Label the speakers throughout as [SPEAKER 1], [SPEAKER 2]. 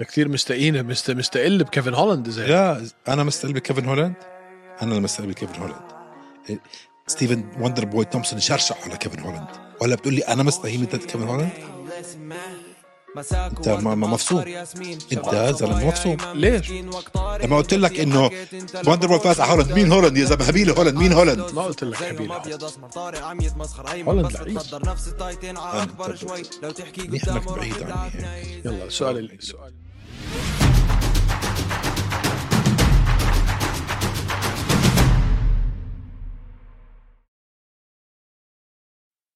[SPEAKER 1] ده كتير مستقينه مست... مستقل بكيفن هولاند زي
[SPEAKER 2] لا انا مستقل بكيفن هولاند انا اللي مستقل بكيفن هولاند إيه، ستيفن وندر بوي تومسون شرشح على كيفن هولاند ولا بتقول لي انا مستحيل من تلاتة كيفن هولاند
[SPEAKER 3] انت ما ما مفصوم انت يا زلمه مفصوم
[SPEAKER 1] ليش؟
[SPEAKER 3] لما قلت لك انه وندر بول فاز على هولاند مين هولاند يا زلمه هبيل هولاند مين هولاند
[SPEAKER 1] ما قلت لك حبيبي هولاند
[SPEAKER 3] هولاند
[SPEAKER 1] لعيب.
[SPEAKER 3] اكبر شوي لو تحكي
[SPEAKER 2] إحنا
[SPEAKER 3] قدامه
[SPEAKER 2] بعيد عني هيك.
[SPEAKER 1] يلا السؤال اللي السؤال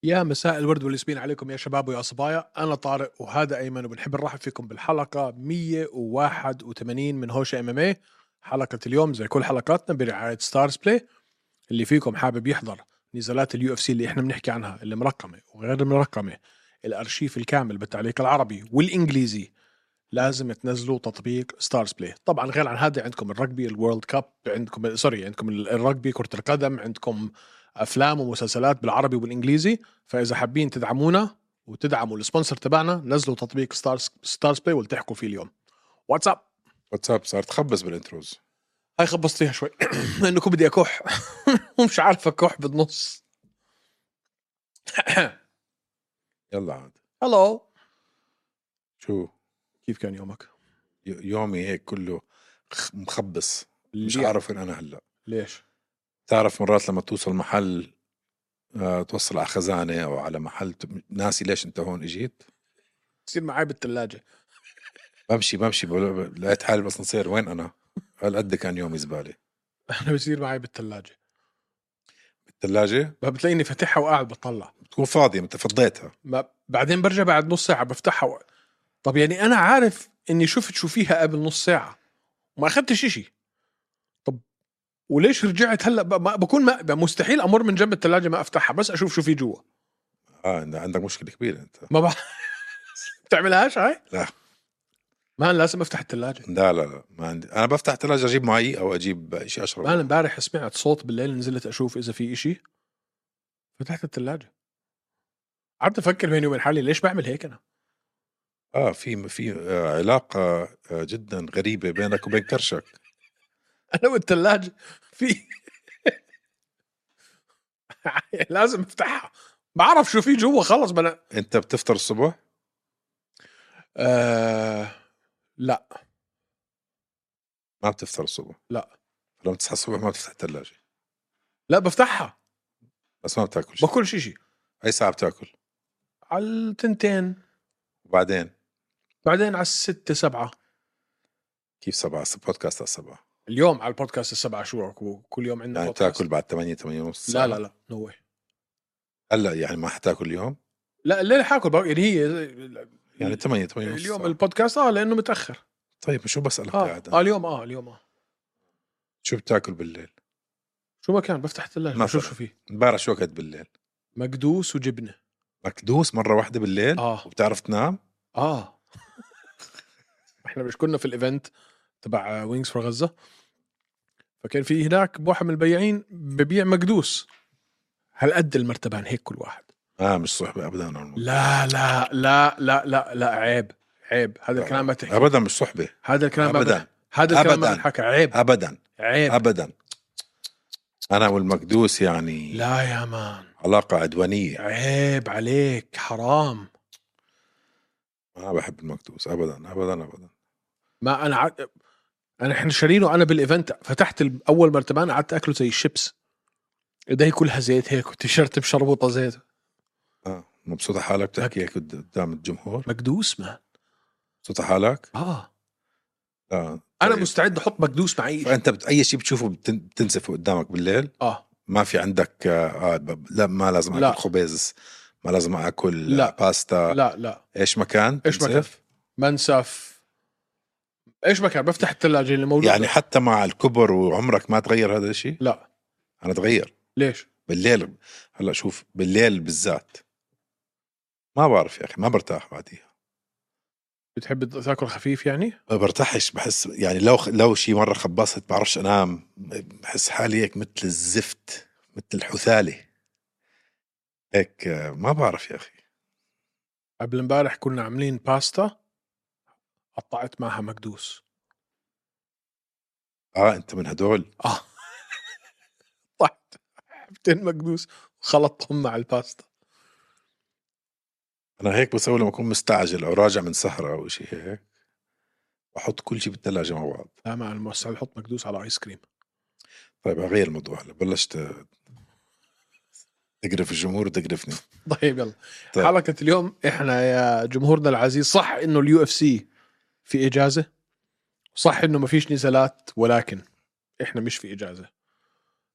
[SPEAKER 1] يا مساء الورد والياسمين عليكم يا شباب ويا صبايا انا طارق وهذا ايمن وبنحب نرحب فيكم بالحلقه 181 من هوش ام ام حلقه اليوم زي كل حلقاتنا برعايه ستارز بلاي اللي فيكم حابب يحضر نزالات اليو اف سي اللي احنا بنحكي عنها اللي مرقمه وغير مرقمه الارشيف الكامل بالتعليق العربي والانجليزي لازم تنزلوا تطبيق ستارز بلاي طبعا غير عن هذا عندكم الرجبي الورلد كاب عندكم سوري عندكم الرجبي كرة القدم عندكم افلام ومسلسلات بالعربي والانجليزي فاذا حابين تدعمونا وتدعموا السبونسر تبعنا نزلوا تطبيق ستارز ستارز بلاي والتحقوا فيه اليوم واتساب
[SPEAKER 2] واتساب صار تخبص بالانتروز
[SPEAKER 1] هاي خبصت فيها شوي لانكم بدي اكح ومش عارف اكح بالنص
[SPEAKER 2] يلا عاد
[SPEAKER 1] هلو
[SPEAKER 2] شو
[SPEAKER 1] كيف كان يومك؟
[SPEAKER 2] ي- يومي هيك كله خ- مخبص مش
[SPEAKER 1] ليه؟
[SPEAKER 2] عارف وين انا هلا
[SPEAKER 1] ليش؟
[SPEAKER 2] تعرف مرات لما توصل محل آه، توصل على خزانه او على محل ت- ناسي ليش انت هون اجيت
[SPEAKER 1] تصير معي بالثلاجه
[SPEAKER 2] بمشي بمشي بقول- لقيت حالي بالاسانسير وين انا هالقد كان يومي زباله
[SPEAKER 1] انا بصير معي بالثلاجه
[SPEAKER 2] الثلاجه
[SPEAKER 1] فبتلاقيني فاتحها وقاعد بطلع
[SPEAKER 2] بتكون فاضيه انت فضيتها
[SPEAKER 1] ما بعدين برجع بعد نص ساعه بفتحها و... طب يعني انا عارف اني شفت شو فيها قبل نص ساعه وما اخدتش اشي طب وليش رجعت هلا ب... ما بكون ما... مستحيل امر من جنب الثلاجه ما افتحها بس اشوف شو في جوا
[SPEAKER 2] اه إن- عندك مشكله كبيره انت
[SPEAKER 1] ما بع... بتعملهاش هاي؟
[SPEAKER 2] لا.
[SPEAKER 1] ما أنا لازم افتح الثلاجه
[SPEAKER 2] لا لا لا ما عندي انا بفتح الثلاجه اجيب معي او اجيب شيء اشرب
[SPEAKER 1] ما انا امبارح سمعت صوت بالليل نزلت اشوف اذا في اشي فتحت الثلاجه قعدت افكر بيني وبين حالي ليش بعمل هيك انا؟
[SPEAKER 2] اه في في آه، علاقه آه، جدا غريبه بينك وبين كرشك
[SPEAKER 1] انا والثلاجه في لازم افتحها بعرف شو في جوا خلص بلا
[SPEAKER 2] انت بتفطر الصبح
[SPEAKER 1] آه... لا
[SPEAKER 2] ما بتفطر الصبح
[SPEAKER 1] لا.
[SPEAKER 2] لما تصحى الصبح ما بتفتح الثلاجه
[SPEAKER 1] لا بفتحها
[SPEAKER 2] بس ما بتاكل شيء
[SPEAKER 1] باكلش شيء
[SPEAKER 2] اي ساعه بتاكل
[SPEAKER 1] على التنتين
[SPEAKER 2] وبعدين
[SPEAKER 1] بعدين على الستة سبعة
[SPEAKER 2] كيف سبعة س- بودكاست على سبعة
[SPEAKER 1] اليوم على البودكاست السبعة شو رأيك؟ كل يوم عندنا
[SPEAKER 2] يعني
[SPEAKER 1] بودكاست.
[SPEAKER 2] بتاكل بعد 8 8 ونص
[SPEAKER 1] لا لا لا نو way.
[SPEAKER 2] هلا يعني ما حتاكل اليوم
[SPEAKER 1] لا الليل حاكل بق- يعني هي
[SPEAKER 2] يعني 8 8 ونص
[SPEAKER 1] اليوم
[SPEAKER 2] اليوم الب...
[SPEAKER 1] البودكاست اه لانه متاخر
[SPEAKER 2] طيب شو بسألك آه.
[SPEAKER 1] اه,
[SPEAKER 2] قاعد
[SPEAKER 1] آه
[SPEAKER 2] أنا؟
[SPEAKER 1] اليوم اه اليوم اه
[SPEAKER 2] شو بتاكل بالليل
[SPEAKER 1] شو ما كان بفتح الثلاجه
[SPEAKER 2] مثلاً.
[SPEAKER 1] بشوف شو فيه
[SPEAKER 2] امبارح شو اكلت بالليل
[SPEAKER 1] مكدوس وجبنه
[SPEAKER 2] مكدوس مرة واحدة بالليل
[SPEAKER 1] اه
[SPEAKER 2] وبتعرف تنام آه.
[SPEAKER 1] اه احنا مش كنا في الايفنت تبع وينجز فور غزه فكان في هناك بوحة من البياعين ببيع مقدوس هالقد المرتبان هيك كل واحد
[SPEAKER 2] اه مش صحبة ابدا أنا والموضوع.
[SPEAKER 1] لا لا لا لا لا لا عيب عيب هذا الكلام ما تحكي
[SPEAKER 2] ابدا مش صحبة
[SPEAKER 1] هذا الكلام ما إيه.
[SPEAKER 2] أبداً.
[SPEAKER 1] بح- هذا الكلام ما
[SPEAKER 2] أبداً.
[SPEAKER 1] بنحكى عيب
[SPEAKER 2] ابدا
[SPEAKER 1] عيب
[SPEAKER 2] ابدا انا والمكدوس يعني لا.
[SPEAKER 1] لا يا مان
[SPEAKER 2] علاقة عدوانية
[SPEAKER 1] عيب عليك حرام
[SPEAKER 2] ما بحب المكدوس ابدا ابدا ابدا
[SPEAKER 1] ما انا عاد انا احنا شارينه انا بالايفنت فتحت ال- اول مرتبان قعدت اكله زي الشيبس ايدي كلها زيت هيك والتيشيرت بشربوطه زيت
[SPEAKER 2] اه مبسوطة حالك بتحكي هيك قد- قدام الجمهور
[SPEAKER 1] مكدوس ما
[SPEAKER 2] مبسوطة حالك
[SPEAKER 1] اه
[SPEAKER 2] اه
[SPEAKER 1] انا
[SPEAKER 2] طيب.
[SPEAKER 1] مستعد احط مكدوس مع اي شيء.
[SPEAKER 2] فانت بت... اي شيء بتشوفه بتن... بتنسفه قدامك بالليل
[SPEAKER 1] اه
[SPEAKER 2] ما في عندك آه آه، ب- لا ما لازم اكل
[SPEAKER 1] لا.
[SPEAKER 2] لا. خبز ما لازم اكل
[SPEAKER 1] لا.
[SPEAKER 2] لا. باستا لا.
[SPEAKER 1] لا لا
[SPEAKER 2] ايش مكان
[SPEAKER 1] إيش مكان؟ منسف ايش مكان بفتح الثلاجه اللي موجوده
[SPEAKER 2] يعني حتى مع الكبر وعمرك ما تغير هذا الشيء
[SPEAKER 1] لا
[SPEAKER 2] انا تغير
[SPEAKER 1] ليش
[SPEAKER 2] بالليل هلا شوف بالليل بالذات ما بعرف يا اخي ما برتاح بعديها
[SPEAKER 1] بتحب تاكل خفيف يعني
[SPEAKER 2] ما برتاحش بحس يعني لو لو شيء مره خبصت بعرفش انام بحس حالي هيك مثل الزفت مثل الحثاله هيك آه، ما بعرف يا اخي
[SPEAKER 1] قبل امبارح كنا عاملين باستا قطعت معها مقدوس
[SPEAKER 2] اه انت من هدول
[SPEAKER 1] اه قطعت حبتين مقدوس وخلطتهم مع الباستا
[SPEAKER 2] انا هيك بسوي لما اكون مستعجل او راجع من سهره او شيء هيك بحط كل شيء بالثلاجه مع بعض
[SPEAKER 1] لا مع الموسع بحط مقدوس على ايس كريم
[SPEAKER 2] طيب اغير الموضوع هلا بلشت تقرف الجمهور وتقرفني
[SPEAKER 1] طيب يلا
[SPEAKER 2] طيب.
[SPEAKER 1] حلقة اليوم احنا يا جمهورنا العزيز صح انه اليو اف سي في اجازة صح انه ما فيش نزالات ولكن احنا مش في اجازة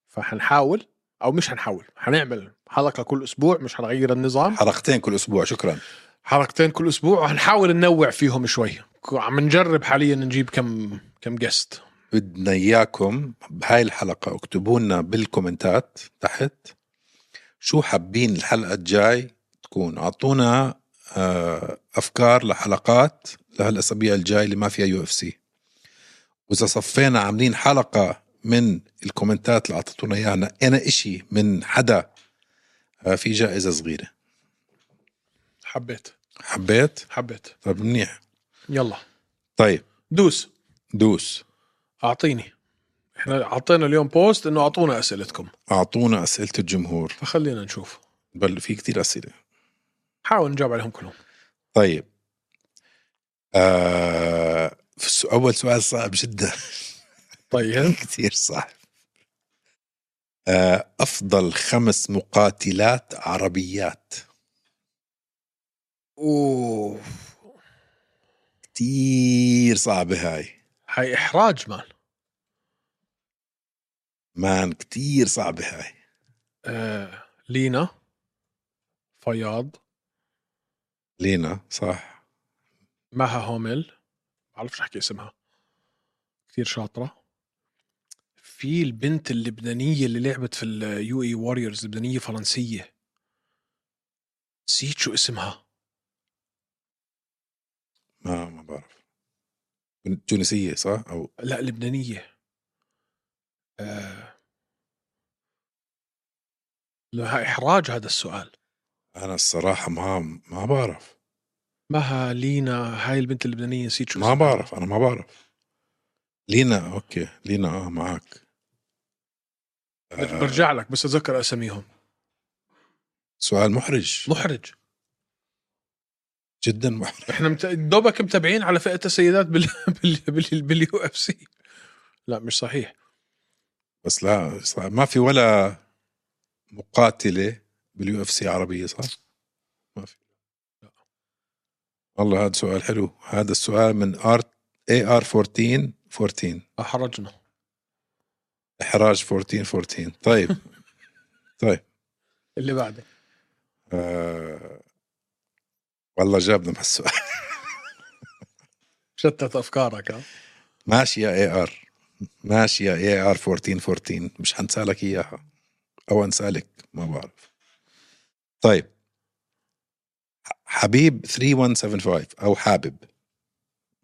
[SPEAKER 1] فحنحاول او مش هنحاول هنعمل حلقة كل اسبوع مش هنغير النظام
[SPEAKER 2] حلقتين كل اسبوع شكرا
[SPEAKER 1] حلقتين كل اسبوع وهنحاول ننوع فيهم شوي عم نجرب حاليا نجيب كم كم جست
[SPEAKER 2] بدنا اياكم بهاي الحلقه اكتبوا لنا بالكومنتات تحت شو حابين الحلقه الجاي تكون اعطونا آه، افكار لحلقات لهالاسابيع الجاي اللي ما فيها يو اف سي واذا صفينا عاملين حلقه من الكومنتات اللي اعطيتونا اياها نقينا اشي من حدا آه، في جائزه صغيره
[SPEAKER 1] حبيت
[SPEAKER 2] حبيت
[SPEAKER 1] حبيت
[SPEAKER 2] طب منيح
[SPEAKER 1] يلا
[SPEAKER 2] طيب
[SPEAKER 1] دوس
[SPEAKER 2] دوس
[SPEAKER 1] اعطيني احنا اعطينا اليوم بوست انه اعطونا اسئلتكم
[SPEAKER 2] اعطونا اسئله الجمهور
[SPEAKER 1] فخلينا نشوف
[SPEAKER 2] بل في كتير اسئله
[SPEAKER 1] حاول نجاوب عليهم كلهم
[SPEAKER 2] طيب آه في السو- اول سؤال صعب جدا
[SPEAKER 1] طيب
[SPEAKER 2] كثير صعب آه افضل خمس مقاتلات عربيات
[SPEAKER 1] اوه
[SPEAKER 2] كثير صعبه هاي
[SPEAKER 1] هاي احراج مان
[SPEAKER 2] مان كثير صعبه هاي
[SPEAKER 1] آه، لينا فياض
[SPEAKER 2] لينا صح
[SPEAKER 1] مها هومل بعرفش احكي اسمها كثير شاطره في البنت اللبنانيه اللي لعبت في اليو اي واريورز لبنانيه فرنسيه نسيت شو اسمها
[SPEAKER 2] ما ما بعرف تونسيه صح او
[SPEAKER 1] لا لبنانيه آه. لا احراج هذا السؤال
[SPEAKER 2] انا الصراحه ما ما بعرف
[SPEAKER 1] مها لينا هاي البنت اللبنانيه نسيت شو
[SPEAKER 2] ما
[SPEAKER 1] اسمها.
[SPEAKER 2] بعرف انا ما بعرف لينا اوكي لينا اه معك
[SPEAKER 1] بر-
[SPEAKER 2] آه.
[SPEAKER 1] برجع لك بس اتذكر اساميهم
[SPEAKER 2] سؤال محرج
[SPEAKER 1] محرج
[SPEAKER 2] جدا محرج
[SPEAKER 1] احنا مت... دوبك متابعين على فئه السيدات بال بال بال باليو اف سي لا مش صحيح
[SPEAKER 2] بس لا صح- ما في ولا مقاتله باليو اف سي عربيه صح؟ ما في والله هذا سؤال حلو هذا السؤال من ار اي ار 14 14
[SPEAKER 1] احرجنا
[SPEAKER 2] احراج 14 14 طيب طيب
[SPEAKER 1] اللي بعده
[SPEAKER 2] آه... والله جابنا مع السؤال
[SPEAKER 1] شتت افكارك ها
[SPEAKER 2] ماشي يا اي ار ماشي يا اي ار 14 14 مش حنسالك اياها او انسالك ما بعرف طيب حبيب 3175 او حابب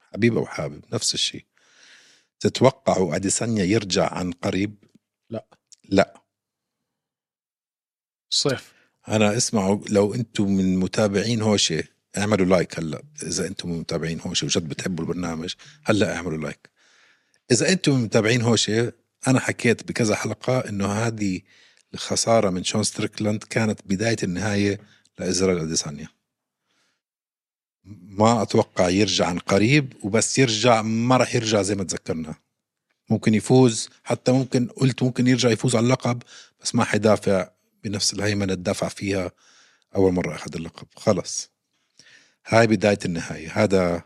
[SPEAKER 2] حبيب او حابب نفس الشيء تتوقعوا اديسانيا يرجع عن قريب
[SPEAKER 1] لا.
[SPEAKER 2] لا
[SPEAKER 1] صيف
[SPEAKER 2] انا اسمعوا لو انتم من متابعين هوشه اعملوا لايك هلا اذا انتم من متابعين هوشه وجد بتحبوا البرنامج هلا اعملوا لايك اذا انتم من متابعين هوشه انا حكيت بكذا حلقه انه هذه الخساره من شون ستريكلاند كانت بدايه النهايه لازرائيل اديسانيا ما اتوقع يرجع عن قريب وبس يرجع ما راح يرجع زي ما تذكرنا ممكن يفوز حتى ممكن قلت ممكن يرجع يفوز على اللقب بس ما حيدافع بنفس الهيمنه الدافع فيها اول مره اخذ اللقب خلص هاي بدايه النهايه هذا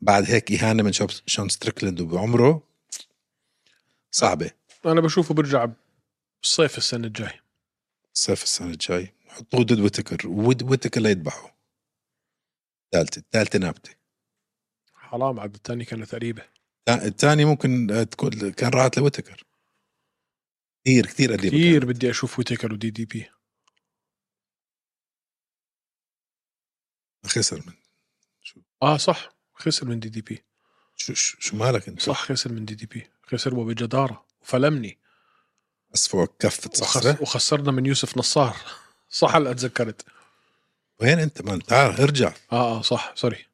[SPEAKER 2] بعد هيك اهانه من شوب- شون ستريكلاند وبعمره صعبه
[SPEAKER 1] انا بشوفه برجع بالصيف السنه الجاي
[SPEAKER 2] صيف السنه الجاي حطوه ضد ويتكر ود ويتكر ليذبحه ثالثه الثالثه نابته
[SPEAKER 1] حرام عبد الثاني كانت قريبه
[SPEAKER 2] الثاني ممكن آه، تكون كان راحت لويتكر كثير كثير قريبه
[SPEAKER 1] كثير
[SPEAKER 2] كانت.
[SPEAKER 1] بدي اشوف ويتيكر ودي دي بي
[SPEAKER 2] خسر من
[SPEAKER 1] اه صح خسر من دي دي بي
[SPEAKER 2] شو شو شو مالك انت؟
[SPEAKER 1] صح خسر من دي دي بي خسر وبجداره وفلمني
[SPEAKER 2] بس فوق كفه
[SPEAKER 1] وخس...
[SPEAKER 2] صخره
[SPEAKER 1] وخسرنا من يوسف نصار صح هلا اتذكرت آه،
[SPEAKER 2] وين انت مان تعال ارجع
[SPEAKER 1] اه اه صح سوري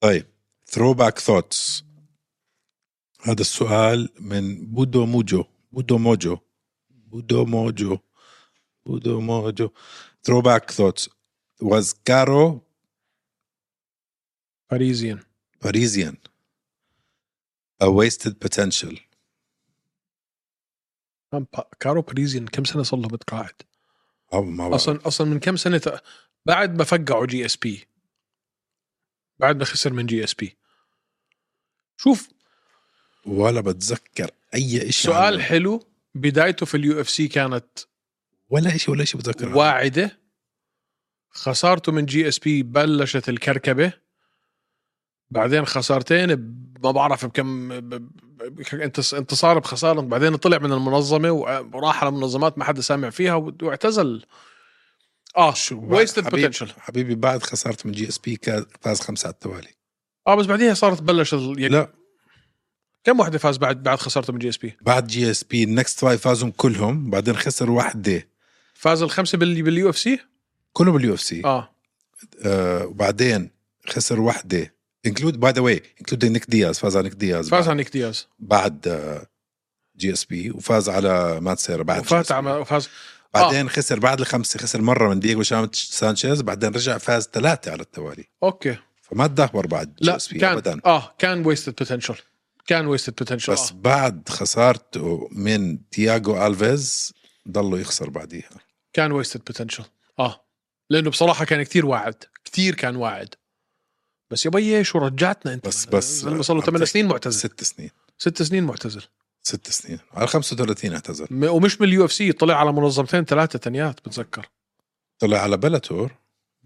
[SPEAKER 2] طيب ثرو باك ثوتس هذا السؤال من بودو موجو بودو موجو بودو موجو بودو موجو ثرو باك ثوتس was Caro
[SPEAKER 1] باريزيان
[SPEAKER 2] Parisian a wasted potential
[SPEAKER 1] كان با- كارو باريزيان كم سنه صار له متقاعد
[SPEAKER 2] أو ما بعرف.
[SPEAKER 1] اصلا اصلا من كم سنه ت- بعد ما فقعوا جي اس بي بعد ما خسر من جي اس بي شوف
[SPEAKER 2] ولا بتذكر اي شيء
[SPEAKER 1] سؤال حلو بدايته في اليو اف سي كانت
[SPEAKER 2] ولا شيء ولا شيء بتذكر عنه.
[SPEAKER 1] واعده خسارته من جي اس بي بلشت الكركبه بعدين خسارتين ب- ما بعرف بكم ب- ب- ب- انتص- انتصار بخساره بعدين طلع من المنظمه وع- وراح على منظمات ما حدا سامع فيها واعتزل اه ويستد
[SPEAKER 2] حبيب-
[SPEAKER 1] بوتنشل
[SPEAKER 2] حبيبي بعد خسارة من جي اس بي فاز خمسة على التوالي
[SPEAKER 1] اه بس بعديها صارت بلش ال- يعني
[SPEAKER 2] لا
[SPEAKER 1] كم وحده فاز بعد بعد خسارته من جي اس بي
[SPEAKER 2] بعد جي اس بي النكست فايف فازهم كلهم بعدين خسر واحدة
[SPEAKER 1] فاز الخمسه بال باليو اف سي
[SPEAKER 2] إيه. كلهم باليو اف سي
[SPEAKER 1] اه
[SPEAKER 2] آه، وبعدين خسر واحدة انكلود باي ذا واي انكلود نيك دياز فاز على نيك دياز
[SPEAKER 1] فاز
[SPEAKER 2] بعد,
[SPEAKER 1] على نيك دياز
[SPEAKER 2] بعد آه، جي اس بي وفاز على مات سيرا بعد
[SPEAKER 1] وفات
[SPEAKER 2] GSP.
[SPEAKER 1] على آه. وفاز
[SPEAKER 2] بعدين خسر بعد الخمسة خسر مرة من دييغو شام- سانشيز بعدين رجع فاز ثلاثة على التوالي
[SPEAKER 1] اوكي
[SPEAKER 2] فما تدهور بعد جي
[SPEAKER 1] لا
[SPEAKER 2] اس بي
[SPEAKER 1] كان
[SPEAKER 2] ابدا
[SPEAKER 1] اه كان ويستد بوتنشل كان آه. ويستد بوتنشل
[SPEAKER 2] بس
[SPEAKER 1] بس
[SPEAKER 2] بعد خسارته من تياغو الفيز ضلوا يخسر بعديها
[SPEAKER 1] كان ويستد بوتنشل اه لانه بصراحه كان كتير واعد كتير كان واعد بس يا بيي شو رجعتنا انت
[SPEAKER 2] بس- بس-
[SPEAKER 1] زلمه صار له
[SPEAKER 2] عم
[SPEAKER 1] 8
[SPEAKER 2] تحكي.
[SPEAKER 1] سنين معتزل
[SPEAKER 2] ست سنين
[SPEAKER 1] ست سنين معتزل
[SPEAKER 2] ست سنين على 35 اعتزل
[SPEAKER 1] م- ومش من اليو اف سي طلع على منظمتين ثلاثه تانيات بتذكر
[SPEAKER 2] طلع على بلاتور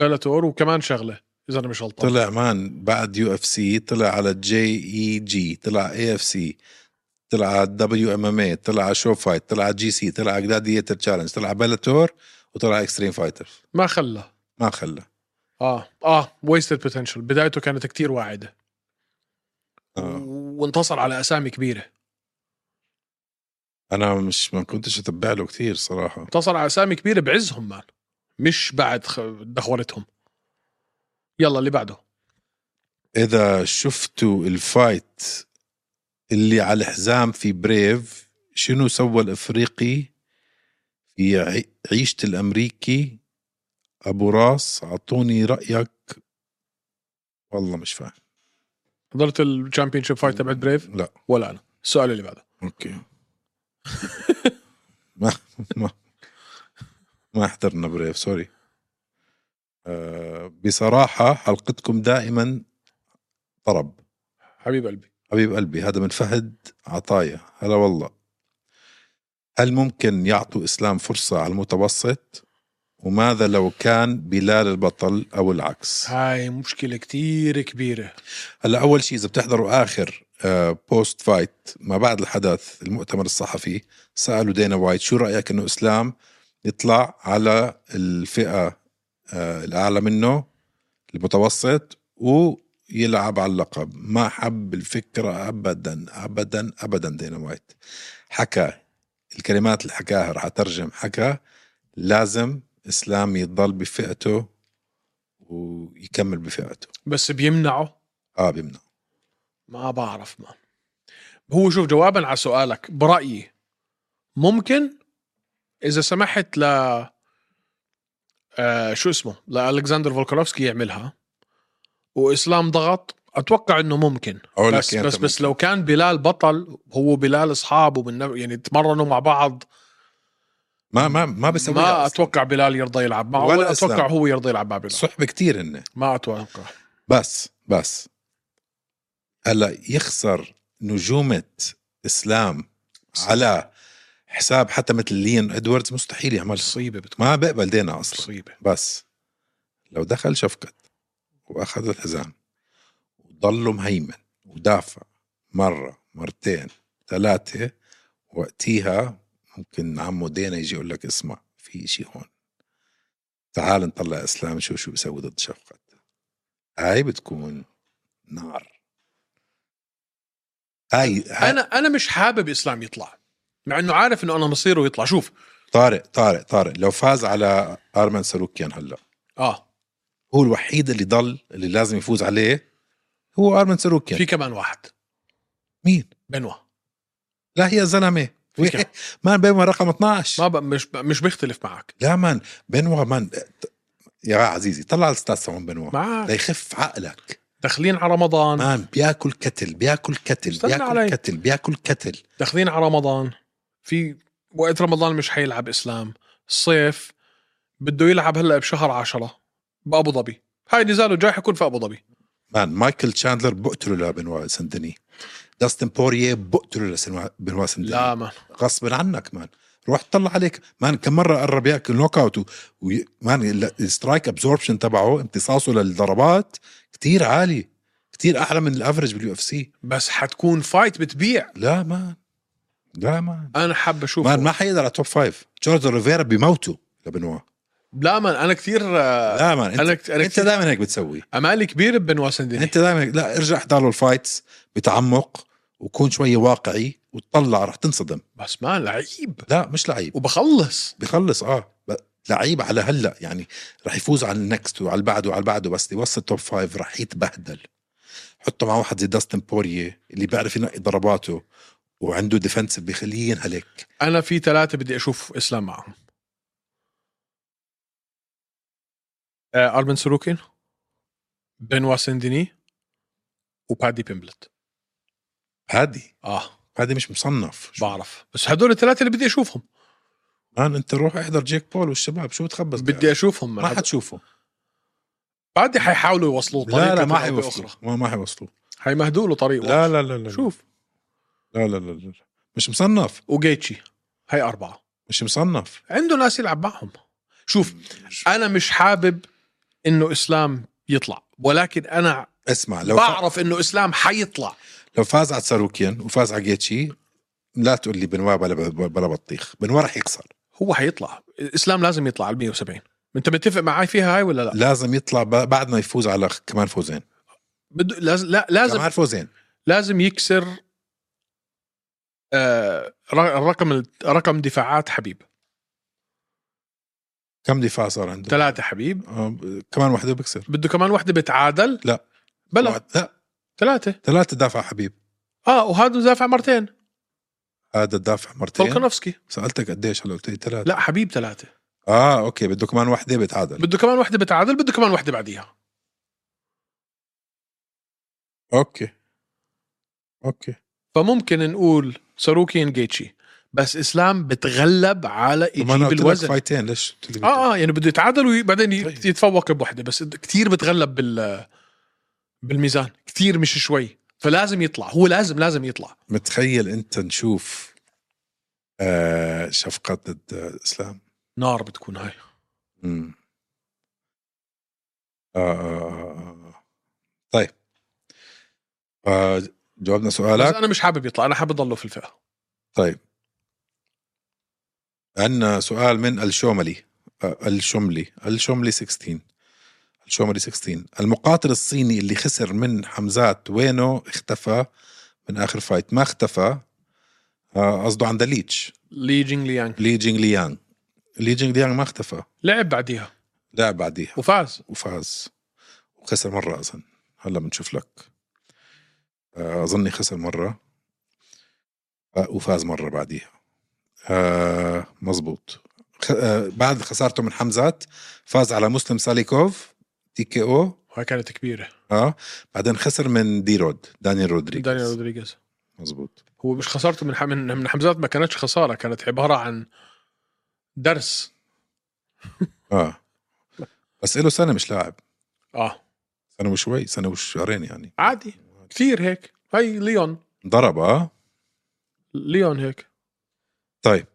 [SPEAKER 1] بلاتور وكمان شغله اذا انا مش غلطان
[SPEAKER 2] طلع مان بعد يو اف سي طلع على جي اي جي طلع اي اف سي طلع على دبليو ام ام اي طلع على شو فايت طلع على جي سي طلع على جلاديتر تشالنج طلع على بلاتور وطلع على اكستريم فايتر
[SPEAKER 1] ما خلى
[SPEAKER 2] ما خلى
[SPEAKER 1] اه اه ويستد بوتنشل بدايته كانت كتير واعده
[SPEAKER 2] آه.
[SPEAKER 1] وانتصر على اسامي كبيره
[SPEAKER 2] انا مش ما كنتش اتبع له كثير صراحه
[SPEAKER 1] انتصر على اسامي كبيره بعزهم مان مش بعد خ- دخولتهم يلا اللي بعده
[SPEAKER 2] اذا شفتوا الفايت اللي على الحزام في بريف شنو سوى الافريقي في عي- عيشه الامريكي ابو راس اعطوني رايك والله مش فاهم
[SPEAKER 1] حضرت الشامبيون شيب فايت تبعت بريف
[SPEAKER 2] لا
[SPEAKER 1] ولا انا السؤال اللي بعده
[SPEAKER 2] اوكي ما ما ما حضرنا بريف سوري آه، بصراحه حلقتكم دائما طرب
[SPEAKER 1] حبيب قلبي
[SPEAKER 2] حبيب قلبي هذا من فهد عطايا هلا والله هل ممكن يعطوا اسلام فرصه على المتوسط وماذا لو كان بلال البطل او العكس
[SPEAKER 1] هاي مشكله كتير كبيره
[SPEAKER 2] هلا اول شيء اذا بتحضروا اخر آه، بوست فايت ما بعد الحدث المؤتمر الصحفي سالوا دينا وايت شو رايك انه اسلام يطلع على الفئه آه، الاعلى منه المتوسط ويلعب على اللقب ما حب الفكره ابدا ابدا ابدا دينا وايت حكى الكلمات اللي حكاها رح اترجم حكى لازم اسلام يضل بفئته ويكمل بفئته
[SPEAKER 1] بس بيمنعه
[SPEAKER 2] اه بيمنع
[SPEAKER 1] ما بعرف ما هو شوف جوابا على سؤالك برايي ممكن اذا سمحت ل آه شو اسمه لالكسندر فولكوفسكي يعملها واسلام ضغط اتوقع انه ممكن
[SPEAKER 2] أقول لك
[SPEAKER 1] بس
[SPEAKER 2] إياها
[SPEAKER 1] بس
[SPEAKER 2] تمام.
[SPEAKER 1] بس لو كان بلال بطل هو بلال اصحابه من نب- يعني تمرنوا مع بعض
[SPEAKER 2] ما ما ما بيسويها
[SPEAKER 1] ما
[SPEAKER 2] أصلاً.
[SPEAKER 1] اتوقع بلال يرضى يلعب معه
[SPEAKER 2] ولا
[SPEAKER 1] ولا اتوقع
[SPEAKER 2] إسلام.
[SPEAKER 1] هو يرضى يلعب مع بلال
[SPEAKER 2] صحبه كتير هن
[SPEAKER 1] ما اتوقع
[SPEAKER 2] بس بس هلا يخسر نجومه اسلام على حساب حتى مثل لين ادواردز مستحيل يعمل
[SPEAKER 1] مصيبه بتكون
[SPEAKER 2] ما بقبل دينا اصلا
[SPEAKER 1] مصيبه
[SPEAKER 2] بس لو دخل شفقت واخذ الحزام وضله مهيمن ودافع مره مرتين ثلاثه وقتيها ممكن عمو دينا يجي يقول لك اسمع في شيء هون تعال نطلع اسلام شو شو بيسوي ضد شفقت هاي بتكون نار هاي, هاي
[SPEAKER 1] انا انا مش حابب اسلام يطلع مع انه عارف انه انا مصيره يطلع شوف
[SPEAKER 2] طارق طارق طارق لو فاز على ارمن سلوكيان هلا
[SPEAKER 1] اه
[SPEAKER 2] هو الوحيد اللي ضل اللي لازم يفوز عليه هو ارمن ساروكيان
[SPEAKER 1] في كمان واحد
[SPEAKER 2] مين
[SPEAKER 1] بنوا
[SPEAKER 2] لا يا زلمه
[SPEAKER 1] في كمان.
[SPEAKER 2] مان بينما رقم 12
[SPEAKER 1] ما ب... مش مش بيختلف معك
[SPEAKER 2] لا مان بنوا مان يا عزيزي طلع الستاتس تبعون بنوا
[SPEAKER 1] معك
[SPEAKER 2] ليخف عقلك
[SPEAKER 1] داخلين على رمضان
[SPEAKER 2] مان بياكل كتل بياكل كتل
[SPEAKER 1] استنى
[SPEAKER 2] بياكل
[SPEAKER 1] علي.
[SPEAKER 2] كتل بياكل كتل
[SPEAKER 1] داخلين على رمضان في وقت رمضان مش حيلعب اسلام الصيف بده يلعب هلا بشهر عشرة بابو ظبي هاي نزاله جاي حيكون في ابو ظبي
[SPEAKER 2] مان مايكل تشاندلر بقتله لبنوا سندني داستن بوريه بقتله لبنوا سندني
[SPEAKER 1] لا ما
[SPEAKER 2] غصبا عنك مان روح طلع عليك مان كم مره قرب ياكل نوك اوت وي... مان ال- السترايك ابزوربشن تبعه امتصاصه للضربات كتير عالي كتير اعلى من الافرج باليو اف سي
[SPEAKER 1] بس حتكون فايت بتبيع
[SPEAKER 2] لا مان لا مان
[SPEAKER 1] انا حاب اشوفه
[SPEAKER 2] مان ما حيقدر على توب فايف جورج ريفيرا بيموتوا لبنوا
[SPEAKER 1] لا من انا كثير آه،
[SPEAKER 2] لا مان
[SPEAKER 1] انا
[SPEAKER 2] انت,
[SPEAKER 1] كت- انا
[SPEAKER 2] انت
[SPEAKER 1] كثير
[SPEAKER 2] دائما هيك بتسوي
[SPEAKER 1] امالي كبيره ببنوا سندني
[SPEAKER 2] انت دائما لا ارجع احضر له الفايتس بتعمق وكون شوي واقعي وتطلع رح تنصدم
[SPEAKER 1] بس ما لعيب
[SPEAKER 2] لا مش لعيب
[SPEAKER 1] وبخلص
[SPEAKER 2] بخلص اه ب- لعيب على هلا يعني رح يفوز على النكست وعلى اللي بعده وعلى اللي بعده بس يوصل توب فايف رح يتبهدل حطه مع واحد زي داستن بوريه اللي بيعرف ينقي ضرباته وعنده ديفنسيف بيخليه ينهلك
[SPEAKER 1] انا في ثلاثه بدي اشوف اسلام معهم آه، ارمن سلوكين بنوا سندني وبادي بيمبلت
[SPEAKER 2] هادي
[SPEAKER 1] اه
[SPEAKER 2] هادي مش مصنف شو-
[SPEAKER 1] بعرف بس هدول الثلاثه اللي بدي اشوفهم
[SPEAKER 2] مان انت روح احضر جيك بول والشباب شو بتخبص
[SPEAKER 1] بدي اشوفهم
[SPEAKER 2] يعني ما حتشوفه
[SPEAKER 1] بعد حيحاولوا يوصلوا طريقه
[SPEAKER 2] لا لا ما
[SPEAKER 1] بطريقة
[SPEAKER 2] حيوصلوا
[SPEAKER 1] أخرى.
[SPEAKER 2] ما ما حيوصلوا
[SPEAKER 1] حيمهدوا له طريق
[SPEAKER 2] لا لا لا لا
[SPEAKER 1] شوف
[SPEAKER 2] لا لا لا لا مش مصنف
[SPEAKER 1] وجيتشي هاي اربعه
[SPEAKER 2] مش مصنف
[SPEAKER 1] عنده ناس يلعب معهم شوف انا مش حابب انه اسلام يطلع ولكن انا
[SPEAKER 2] اسمع لو
[SPEAKER 1] بعرف انه اسلام حيطلع
[SPEAKER 2] لو فاز على ساروكيان وفاز على جيتشي لا تقول لي بنوا بلا بلا بطيخ بنوا رح يخسر
[SPEAKER 1] هو حيطلع اسلام لازم يطلع على 170 انت متفق معي فيها هاي ولا لا
[SPEAKER 2] لازم يطلع ب- بعد ما يفوز على خ- كمان فوزين
[SPEAKER 1] بده لازم لا لازم
[SPEAKER 2] كمان فوزين
[SPEAKER 1] لازم يكسر آه ر- رقم رقم دفاعات حبيب
[SPEAKER 2] كم دفاع صار عنده
[SPEAKER 1] ثلاثة حبيب
[SPEAKER 2] آه، ب- كمان وحده بكسر
[SPEAKER 1] بده كمان وحدة بتعادل
[SPEAKER 2] لا.
[SPEAKER 1] بلا
[SPEAKER 2] واحد- لا
[SPEAKER 1] ثلاثة
[SPEAKER 2] ثلاثة دافع حبيب
[SPEAKER 1] اه وهذا دافع مرتين
[SPEAKER 2] هذا الدافع مرتين
[SPEAKER 1] فولكانوفسكي
[SPEAKER 2] سألتك قديش هلا قلت لي ثلاثة
[SPEAKER 1] لا حبيب ثلاثة
[SPEAKER 2] اه اوكي بده كمان وحده بتعادل
[SPEAKER 1] بده كمان وحدة بتعادل بده كمان وحدة بعديها
[SPEAKER 2] اوكي اوكي
[SPEAKER 1] فممكن نقول ساروكيان جيتشي بس اسلام بتغلب على
[SPEAKER 2] طب ما انا
[SPEAKER 1] يجيب
[SPEAKER 2] قلت لك
[SPEAKER 1] الوزن
[SPEAKER 2] فايتين ليش قلت لي
[SPEAKER 1] اه اه يعني بده يتعادل وبعدين ي-
[SPEAKER 2] طيب.
[SPEAKER 1] يتفوق بوحده بس كثير بتغلب بال بالميزان كثير مش شوي فلازم يطلع هو لازم لازم يطلع
[SPEAKER 2] متخيل انت نشوف آه شفقة ضد آه، اسلام
[SPEAKER 1] نار بتكون هاي
[SPEAKER 2] مم. آه، آه، آه، آه. طيب آه، جاوبنا
[SPEAKER 1] بس
[SPEAKER 2] سؤالك
[SPEAKER 1] انا مش حابب يطلع انا حابب اضله في الفئه
[SPEAKER 2] طيب عندنا سؤال من الشوملي آه، الشملي الشملي 16 الشوملي 16 المقاتل الصيني اللي خسر من حمزات وينه اختفى من اخر فايت ما اختفى آه، قصده عند ليتش
[SPEAKER 1] لي جينغ ليانغ
[SPEAKER 2] لي جينغ ليانغ لي جينغ ليانغ ما اختفى
[SPEAKER 1] لعب بعديها
[SPEAKER 2] لعب بعديها
[SPEAKER 1] وفاز
[SPEAKER 2] وفاز وخسر مرة أظن هلا بنشوف لك آه، أظني خسر مرة آه، وفاز مرة بعديها آه، مزبوط خ- آه، بعد خسارته من حمزات فاز على مسلم ساليكوف تي كي او
[SPEAKER 1] وهي كانت كبيره
[SPEAKER 2] اه بعدين خسر من دي رود دانيال رودريغيز
[SPEAKER 1] دانيال رودريغيز
[SPEAKER 2] مزبوط
[SPEAKER 1] هو مش خسارته من من من حمزات ما كانتش خساره كانت عباره عن درس
[SPEAKER 2] اه بس له سنة مش لاعب
[SPEAKER 1] اه
[SPEAKER 2] سنة وشوي سنة وشهرين يعني
[SPEAKER 1] عادي كثير هيك هاي ليون
[SPEAKER 2] ضرب اه
[SPEAKER 1] ليون هيك
[SPEAKER 2] طيب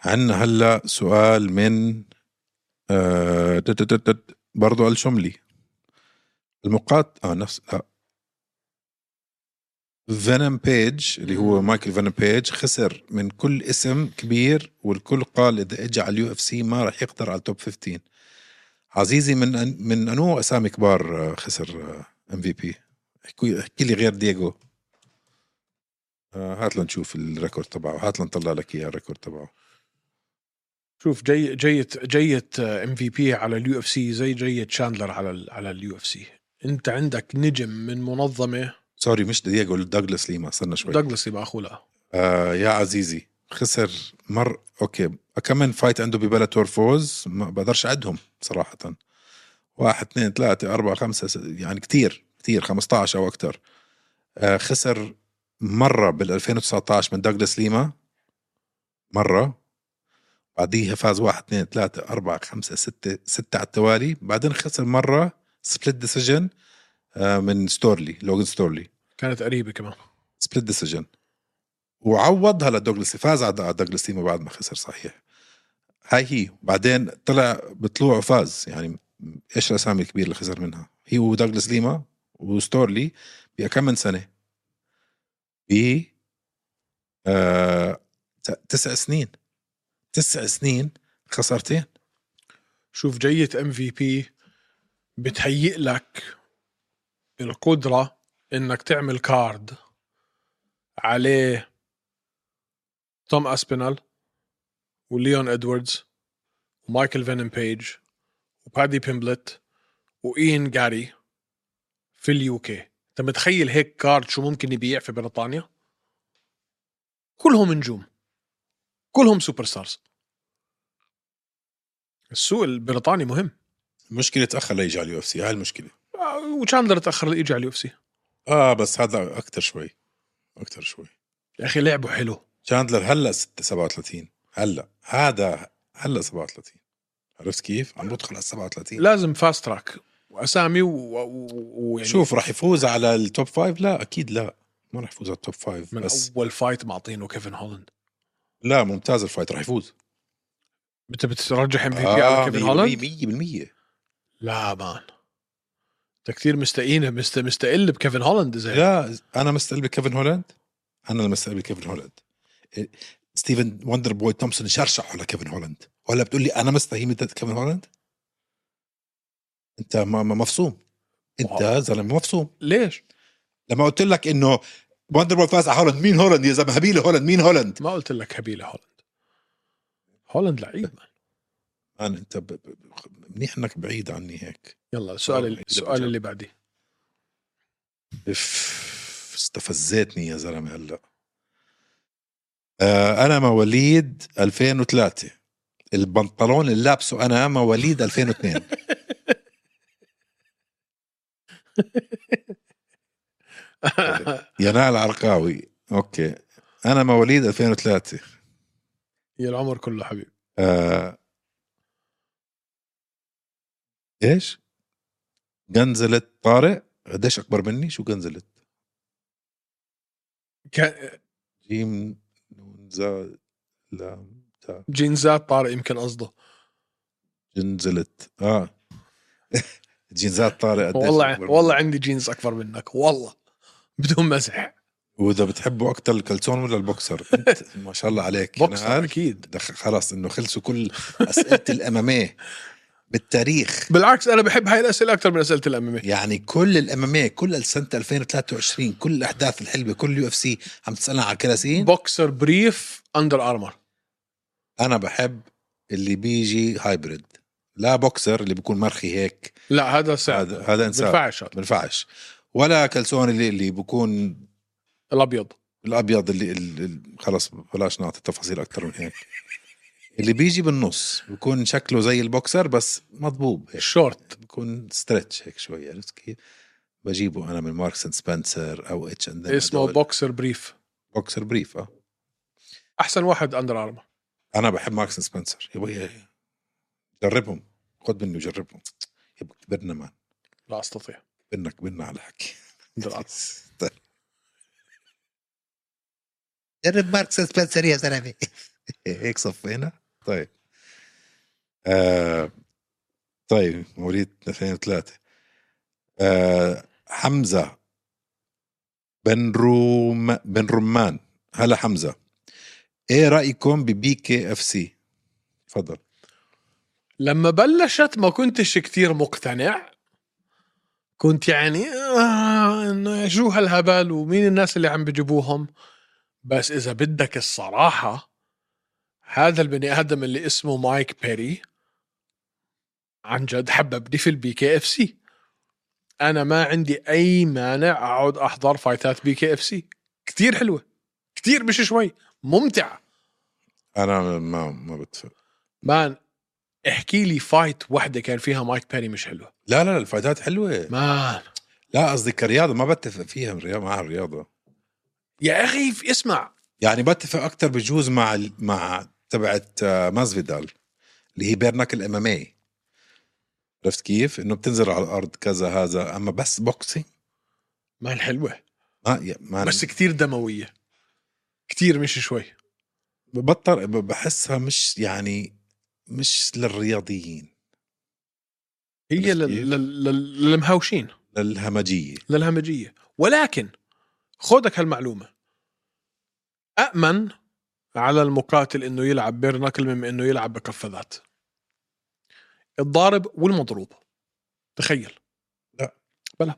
[SPEAKER 2] عندنا هلا سؤال من آه تت- تت- تت- برضو الشملي المقات اه نفس لا فينم بيج اللي هو مايكل فينم بيج خسر من كل اسم كبير والكل قال اذا اجى على اليو اف سي ما راح يقدر على التوب 15 عزيزي من أن- من انو اسامي كبار آه، خسر ام في بي احكي لي غير دييغو آه، هات لنشوف الريكورد تبعه هات لنطلع لك اياه الريكورد تبعه
[SPEAKER 1] شوف جاي جاية جاية ام في بي على اليو اف سي زي جاية شاندلر على ال على اليو اف سي انت عندك نجم من منظمه
[SPEAKER 2] سوري مش دييغو دوغلاس ليما استنى شوي
[SPEAKER 1] دوغلاس يبقى اخوه لها
[SPEAKER 2] آه يا عزيزي خسر مر اوكي كم من فايت عنده ببلاتور فوز ما بقدرش اعدهم صراحه واحد اثنين ثلاثة أربعة خمسة ستة يعني كتير كتير 15 أو أكتر آه خسر مرة بال 2019 من دوغلاس ليما مرة بعديها فاز واحد اثنين ثلاثة أربعة خمسة ستة ستة على التوالي بعدين خسر مرة سبليت ديسيجن آه من ستورلي لوغن ستورلي
[SPEAKER 1] كانت قريبه كمان
[SPEAKER 2] سبليت ديسيجن وعوضها لدوغلاس فاز على دوغلاس ليما بعد ما خسر صحيح هاي هي بعدين طلع بطلوعه فاز يعني ايش الاسامي الكبيره اللي خسر منها هي ودوغلاس ليما وستورلي بكم من سنه ب آه ت- تسع سنين تسع سنين خسارتين
[SPEAKER 1] شوف جاية ام في بي بتهيئ لك القدرة انك تعمل كارد عليه توم اسبينال وليون ادواردز ومايكل فينن بيج وبادي بيمبلت واين جاري في اليو كي انت متخيل هيك كارد شو ممكن يبيع في بريطانيا كلهم نجوم كلهم سوبر ستارز السوق البريطاني مهم
[SPEAKER 2] المشكله تاخر ليجي على اليو اف سي هاي المشكله
[SPEAKER 1] آه، وتشاندلر تاخر لإجا على اليو اف سي
[SPEAKER 2] اه بس هذا اكثر شوي اكثر شوي
[SPEAKER 1] يا اخي لعبه حلو
[SPEAKER 2] شاندلر هلا 6 37 هلا هذا هلا 37 عرفت كيف؟ عم بدخل على 37
[SPEAKER 1] لازم فاست تراك واسامي ويعني و... و... ويعني
[SPEAKER 2] شوف راح يفوز على التوب فايف لا اكيد لا ما راح يفوز على التوب فايف
[SPEAKER 1] من
[SPEAKER 2] بس
[SPEAKER 1] بس. اول فايت معطينه كيفن هولاند
[SPEAKER 2] لا ممتاز الفايت راح يفوز
[SPEAKER 1] انت بترجح ام في بي على
[SPEAKER 2] آه
[SPEAKER 1] كيفن هولاند
[SPEAKER 2] 100%
[SPEAKER 1] لا مان انت كثير مستقين مست... مستقل بكيفن هولاند زي
[SPEAKER 2] لا انا مستقل بكيفن هولاند انا اللي مستقل بكيفن هولاند إيه، ستيفن وندر بوي تومسون شرشحه لكيفن هولاند ولا بتقول لي انا مستهين ضد كيفن هولاند انت ما ما مفصوم انت
[SPEAKER 1] واو.
[SPEAKER 2] زلمه مفصوم
[SPEAKER 1] ليش؟
[SPEAKER 2] لما قلت لك انه وندر بوي فاز على هولاند مين هولاند يا زلمه هبيله هولاند مين هولاند
[SPEAKER 1] ما قلت لك هبيله هولاند هولاند لعيب مان.
[SPEAKER 2] انا انت ب... ب... منيح انك بعيد عني هيك
[SPEAKER 1] يلا السؤال اللي... السؤال اللي بعديه
[SPEAKER 2] اف استفزتني يا زلمه هلا آه، انا مواليد 2003 البنطلون اللي لابسه انا مواليد 2002 ينال عرقاوي اوكي انا مواليد 2003
[SPEAKER 1] يا العمر كله حبيبي
[SPEAKER 2] آه، ايش قنزلة طارق قديش اكبر مني شو قنزلة
[SPEAKER 1] كان
[SPEAKER 2] جيم نون زا لام تا
[SPEAKER 1] جينزات طارق يمكن قصده
[SPEAKER 2] جنزلت اه جينزات طارق قديش
[SPEAKER 1] والله
[SPEAKER 2] أكبر
[SPEAKER 1] والله
[SPEAKER 2] منك؟
[SPEAKER 1] عندي جينز اكبر منك والله بدون مزح
[SPEAKER 2] واذا بتحبوا اكثر الكلسون ولا البوكسر انت ما شاء الله عليك
[SPEAKER 1] بوكسر
[SPEAKER 2] نهار.
[SPEAKER 1] اكيد
[SPEAKER 2] دخ- خلاص انه خلصوا كل اسئله الاماميه إيه. بالتاريخ
[SPEAKER 1] بالعكس انا بحب هاي الاسئله اكثر من اسئله الاماميه
[SPEAKER 2] يعني كل الاماميه كل سنه 2023 كل الاحداث الحلوه كل اليو اف سي عم تسالنا على الكلاسين
[SPEAKER 1] بوكسر بريف اندر ارمر
[SPEAKER 2] انا بحب اللي بيجي هايبرد لا بوكسر اللي بيكون مرخي هيك
[SPEAKER 1] لا هذا سعد
[SPEAKER 2] هذا هذا انسان
[SPEAKER 1] بنفعش هذا.
[SPEAKER 2] بنفعش ولا كلسون اللي اللي بيكون
[SPEAKER 1] الابيض
[SPEAKER 2] الابيض اللي, اللي خلص بلاش نعطي تفاصيل اكثر من هيك اللي بيجي بالنص بيكون شكله زي البوكسر بس مضبوب هيك
[SPEAKER 1] الشورت
[SPEAKER 2] بيكون ستريتش هيك شوي عرفت كيف؟ بجيبه انا من ماركس اند سبنسر او اتش اند
[SPEAKER 1] اسمه بوكسر بريف
[SPEAKER 2] بوكسر بريف اه
[SPEAKER 1] احسن واحد اندر ارمر
[SPEAKER 2] انا بحب ماركس اند سبنسر يا بوي جربهم خد مني وجربهم يا بو- كبرنا مان
[SPEAKER 1] لا استطيع
[SPEAKER 2] كبرنا كبرنا على طيب. الحكي
[SPEAKER 1] أندر أرمر.
[SPEAKER 2] جرب ماركس أند سبنسر يا زلمه هيك صفينا طيب آه طيب مواليد 2003 آه حمزه بن روم بن رمان هلا حمزه ايه رايكم ببي كي اف سي تفضل
[SPEAKER 1] لما بلشت ما كنتش كتير مقتنع كنت يعني آه انه شو هالهبل ومين الناس اللي عم بجيبوهم بس اذا بدك الصراحه هذا البني ادم اللي اسمه مايك بيري عن جد حببني في البي كي اف سي انا ما عندي اي مانع اقعد احضر فايتات بي كي اف سي كثير حلوه كثير مش شوي ممتعه
[SPEAKER 2] انا ما ما بتفق
[SPEAKER 1] مان احكي لي فايت وحده كان فيها مايك بيري مش حلوه
[SPEAKER 2] لا لا لا الفايتات حلوه
[SPEAKER 1] مان
[SPEAKER 2] لا قصدي كرياضه ما بتفق فيها الرياضه مع الرياضه
[SPEAKER 1] يا اخي في- اسمع
[SPEAKER 2] يعني بتفق اكثر بجوز مع ال- مع تبعت آه، مازفيدال اللي هي بيرناك الام ام إيه. عرفت كيف؟ انه بتنزل على الارض كذا هذا اما بس بوكسينج
[SPEAKER 1] مان حلوه
[SPEAKER 2] ما يا- ما
[SPEAKER 1] بس كثير دمويه كثير مش شوي
[SPEAKER 2] ببطل ب- بحسها مش يعني مش للرياضيين
[SPEAKER 1] هي
[SPEAKER 2] عرفت
[SPEAKER 1] لل-
[SPEAKER 2] كيف؟
[SPEAKER 1] لل- لل- للمهاوشين
[SPEAKER 2] للهمجيه
[SPEAKER 1] للهمجيه ولكن خودك هالمعلومه امن على المقاتل انه يلعب بيرناكل من انه يلعب بقفازات الضارب والمضروب تخيل
[SPEAKER 2] لا.
[SPEAKER 1] بلا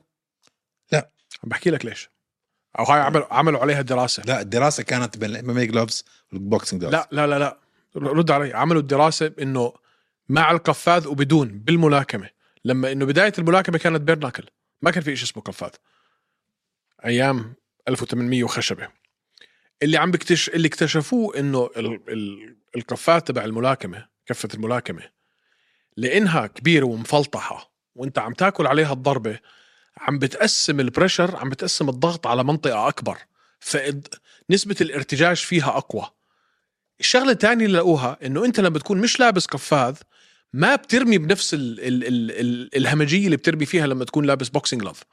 [SPEAKER 2] لا.
[SPEAKER 1] عم بحكي لك ليش او هاي عملوا عملوا عليها دراسه
[SPEAKER 2] لا الدراسه كانت بين الام ام اي جلوفز والبوكسينج جلوفز
[SPEAKER 1] لا لا لا لا رد علي عملوا الدراسه انه مع القفاز وبدون بالملاكمه لما انه بدايه الملاكمه كانت بيرناكل ما كان في شيء اسمه قفاز ايام 1800 وخشبه اللي عم بكتش اللي اكتشفوه انه ال... ال... القفاز تبع الملاكمه كفه الملاكمه لانها كبيره ومفلطحه وانت عم تاكل عليها الضربه عم بتقسم البريشر عم بتقسم الضغط على منطقه اكبر فنسبه الارتجاج فيها اقوى الشغله الثانيه اللي لقوها انه انت لما تكون مش لابس قفاز ما بترمي بنفس ال ال ال ال الهمجيه اللي بترمي فيها لما تكون لابس بوكسينج جلوف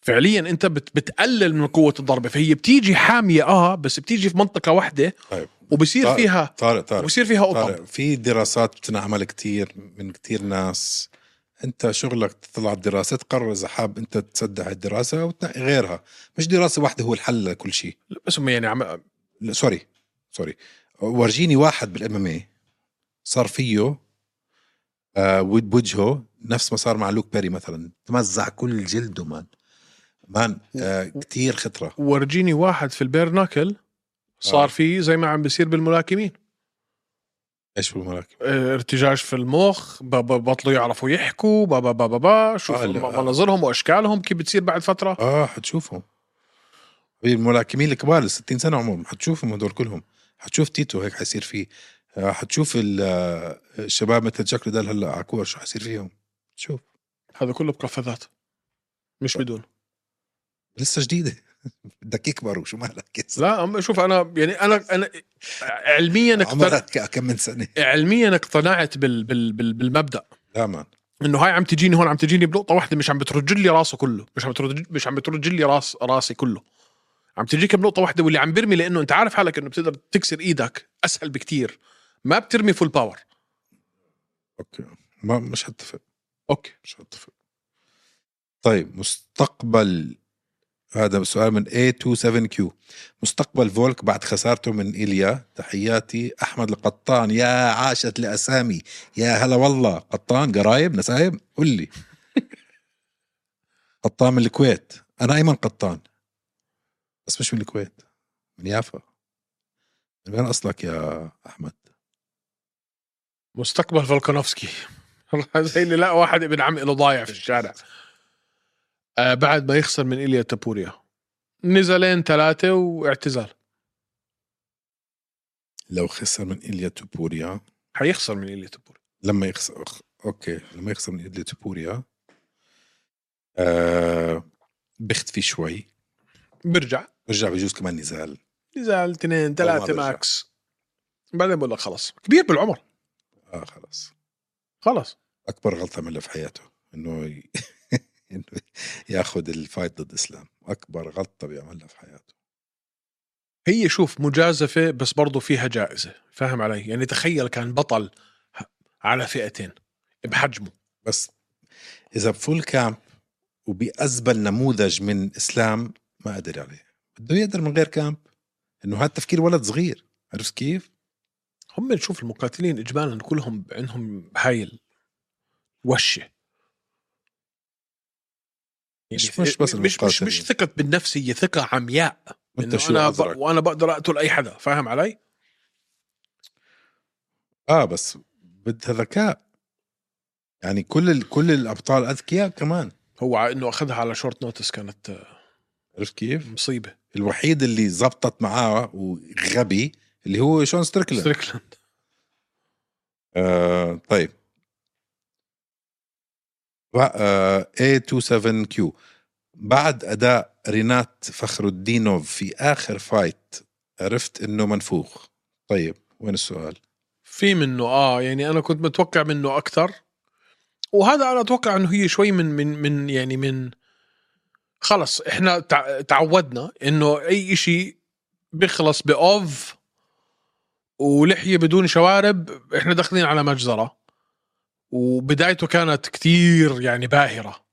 [SPEAKER 1] فعليا انت بت بتقلل من قوه الضربه فهي بتيجي حاميه اه بس بتيجي في منطقه واحده
[SPEAKER 2] طيب
[SPEAKER 1] وبصير
[SPEAKER 2] طارق-
[SPEAKER 1] فيها
[SPEAKER 2] طارق طارق
[SPEAKER 1] وبصير فيها قطب
[SPEAKER 2] طارق في دراسات بتنعمل كتير من كتير ناس انت شغلك تطلع الدراسه تقرر اذا حاب انت تصدق الدراسه وتنقي غيرها مش دراسه واحده هو الحل لكل شيء
[SPEAKER 1] بس هم يعني عم
[SPEAKER 2] لا، سوري سوري ورجيني واحد بالام صار فيه آه ود- بوجهه نفس ما صار مع لوك بيري مثلا تمزع كل جلده مان مان آه كتير خطره
[SPEAKER 1] ورجيني واحد في البيرناكل صار
[SPEAKER 2] آه.
[SPEAKER 1] فيه زي ما عم بيصير بالملاكمين
[SPEAKER 2] ايش بالمراكب
[SPEAKER 1] اه، ارتجاج في المخ ب- ب- بطلوا يعرفوا يحكوا با با با با, با شوف
[SPEAKER 2] آه، لا.
[SPEAKER 1] م- مناظرهم واشكالهم كيف بتصير بعد فتره
[SPEAKER 2] اه حتشوفهم الملاكمين الكبار ال 60 سنه عمرهم حتشوفهم هدول كلهم حتشوف تيتو هيك حيصير فيه آه، حتشوف ال- آه، الشباب مثل جاك ريدال هلا عكور شو حيصير فيهم شوف
[SPEAKER 1] هذا كله بقفازات مش بدون
[SPEAKER 2] لسه جديده بدك يكبروا شو مالك يا زلمة؟
[SPEAKER 1] لا أم- شوف انا يعني انا انا علميا
[SPEAKER 2] عمرها
[SPEAKER 1] اقتنعت
[SPEAKER 2] ك- كم من سنه
[SPEAKER 1] علميا اقتنعت بال بال بال بالمبدا
[SPEAKER 2] لا مان
[SPEAKER 1] انه هاي عم تجيني هون عم تجيني بنقطه واحده مش عم بترج لي راسه كله مش عم بترج مش عم بترج لي راس راسي كله عم تجيك بنقطه واحده واللي عم برمي لانه انت عارف حالك انه بتقدر تكسر ايدك اسهل بكتير ما بترمي فول باور
[SPEAKER 2] اوكي ما مش هتفق
[SPEAKER 1] اوكي
[SPEAKER 2] مش هتفق طيب مستقبل هذا سؤال من A27Q مستقبل فولك بعد خسارته من إيليا تحياتي أحمد القطان يا عاشت لأسامي يا هلا والله قطان قرايب نسايب قل لي قطان من الكويت أنا أيمن قطان بس مش من الكويت من يافا من وين أصلك يا أحمد
[SPEAKER 1] مستقبل فولكانوفسكي زي اللي لقى واحد ابن عم له ضايع في الشارع آه بعد ما يخسر من ايليا تابوريا نزلين ثلاثه واعتزال
[SPEAKER 2] لو خسر من إيليا توبوريا
[SPEAKER 1] حيخسر من ايليا تابوريا
[SPEAKER 2] لما يخسر أخ- اوكي لما يخسر من ادلي تبوريا آه بيختفي شوي
[SPEAKER 1] برجع
[SPEAKER 2] برجع بجوز كمان نزال
[SPEAKER 1] نزال اثنين
[SPEAKER 2] والله
[SPEAKER 1] ثلاثه
[SPEAKER 2] برجع.
[SPEAKER 1] ماكس بعدين بقول لك خلص كبير بالعمر
[SPEAKER 2] اه خلاص
[SPEAKER 1] خلص
[SPEAKER 2] اكبر غلطه عملها في حياته انه ي... انه ياخذ الفايت ضد اسلام اكبر غلطه بيعملها في حياته
[SPEAKER 1] هي شوف مجازفة بس برضو فيها جائزة فاهم علي يعني تخيل كان بطل ه- على فئتين بحجمه
[SPEAKER 2] بس اذا بفول كامب وبازبل نموذج من اسلام ما قدر عليه بده يقدر من غير كامب انه هذا تفكير ولد صغير عرفت كيف؟
[SPEAKER 1] هم نشوف المقاتلين إجمالا كلهم عندهم هاي الوشة يعني
[SPEAKER 2] مش- مش بس
[SPEAKER 1] مش مش, مش
[SPEAKER 2] المقاتلين.
[SPEAKER 1] ثقة بالنفس هي ثقة عمياء
[SPEAKER 2] وانت
[SPEAKER 1] انه
[SPEAKER 2] شو
[SPEAKER 1] انا ب...
[SPEAKER 2] أزرق؟
[SPEAKER 1] وانا بقدر اقتل اي حدا فاهم علي؟
[SPEAKER 2] اه بس بدها ذكاء يعني كل ال... كل الابطال اذكياء كمان
[SPEAKER 1] هو ع- انه اخذها على شورت نوتس كانت آه،
[SPEAKER 2] عرفت كيف؟
[SPEAKER 1] مصيبه
[SPEAKER 2] الوحيد اللي زبطت معاه وغبي اللي هو شون ستريكلاند
[SPEAKER 1] ستريكلاند
[SPEAKER 2] آه طيب بع- آه A27Q بعد أداء رينات فخر الدينوف في آخر فايت عرفت إنه منفوخ طيب وين السؤال؟
[SPEAKER 1] في منه اه يعني انا كنت متوقع منه اكثر وهذا انا اتوقع انه هي شوي من من من يعني من خلص احنا تع- تعودنا انه اي شيء بيخلص باوف ولحيه بدون شوارب احنا داخلين على مجزره وبدايته كانت كتير يعني باهره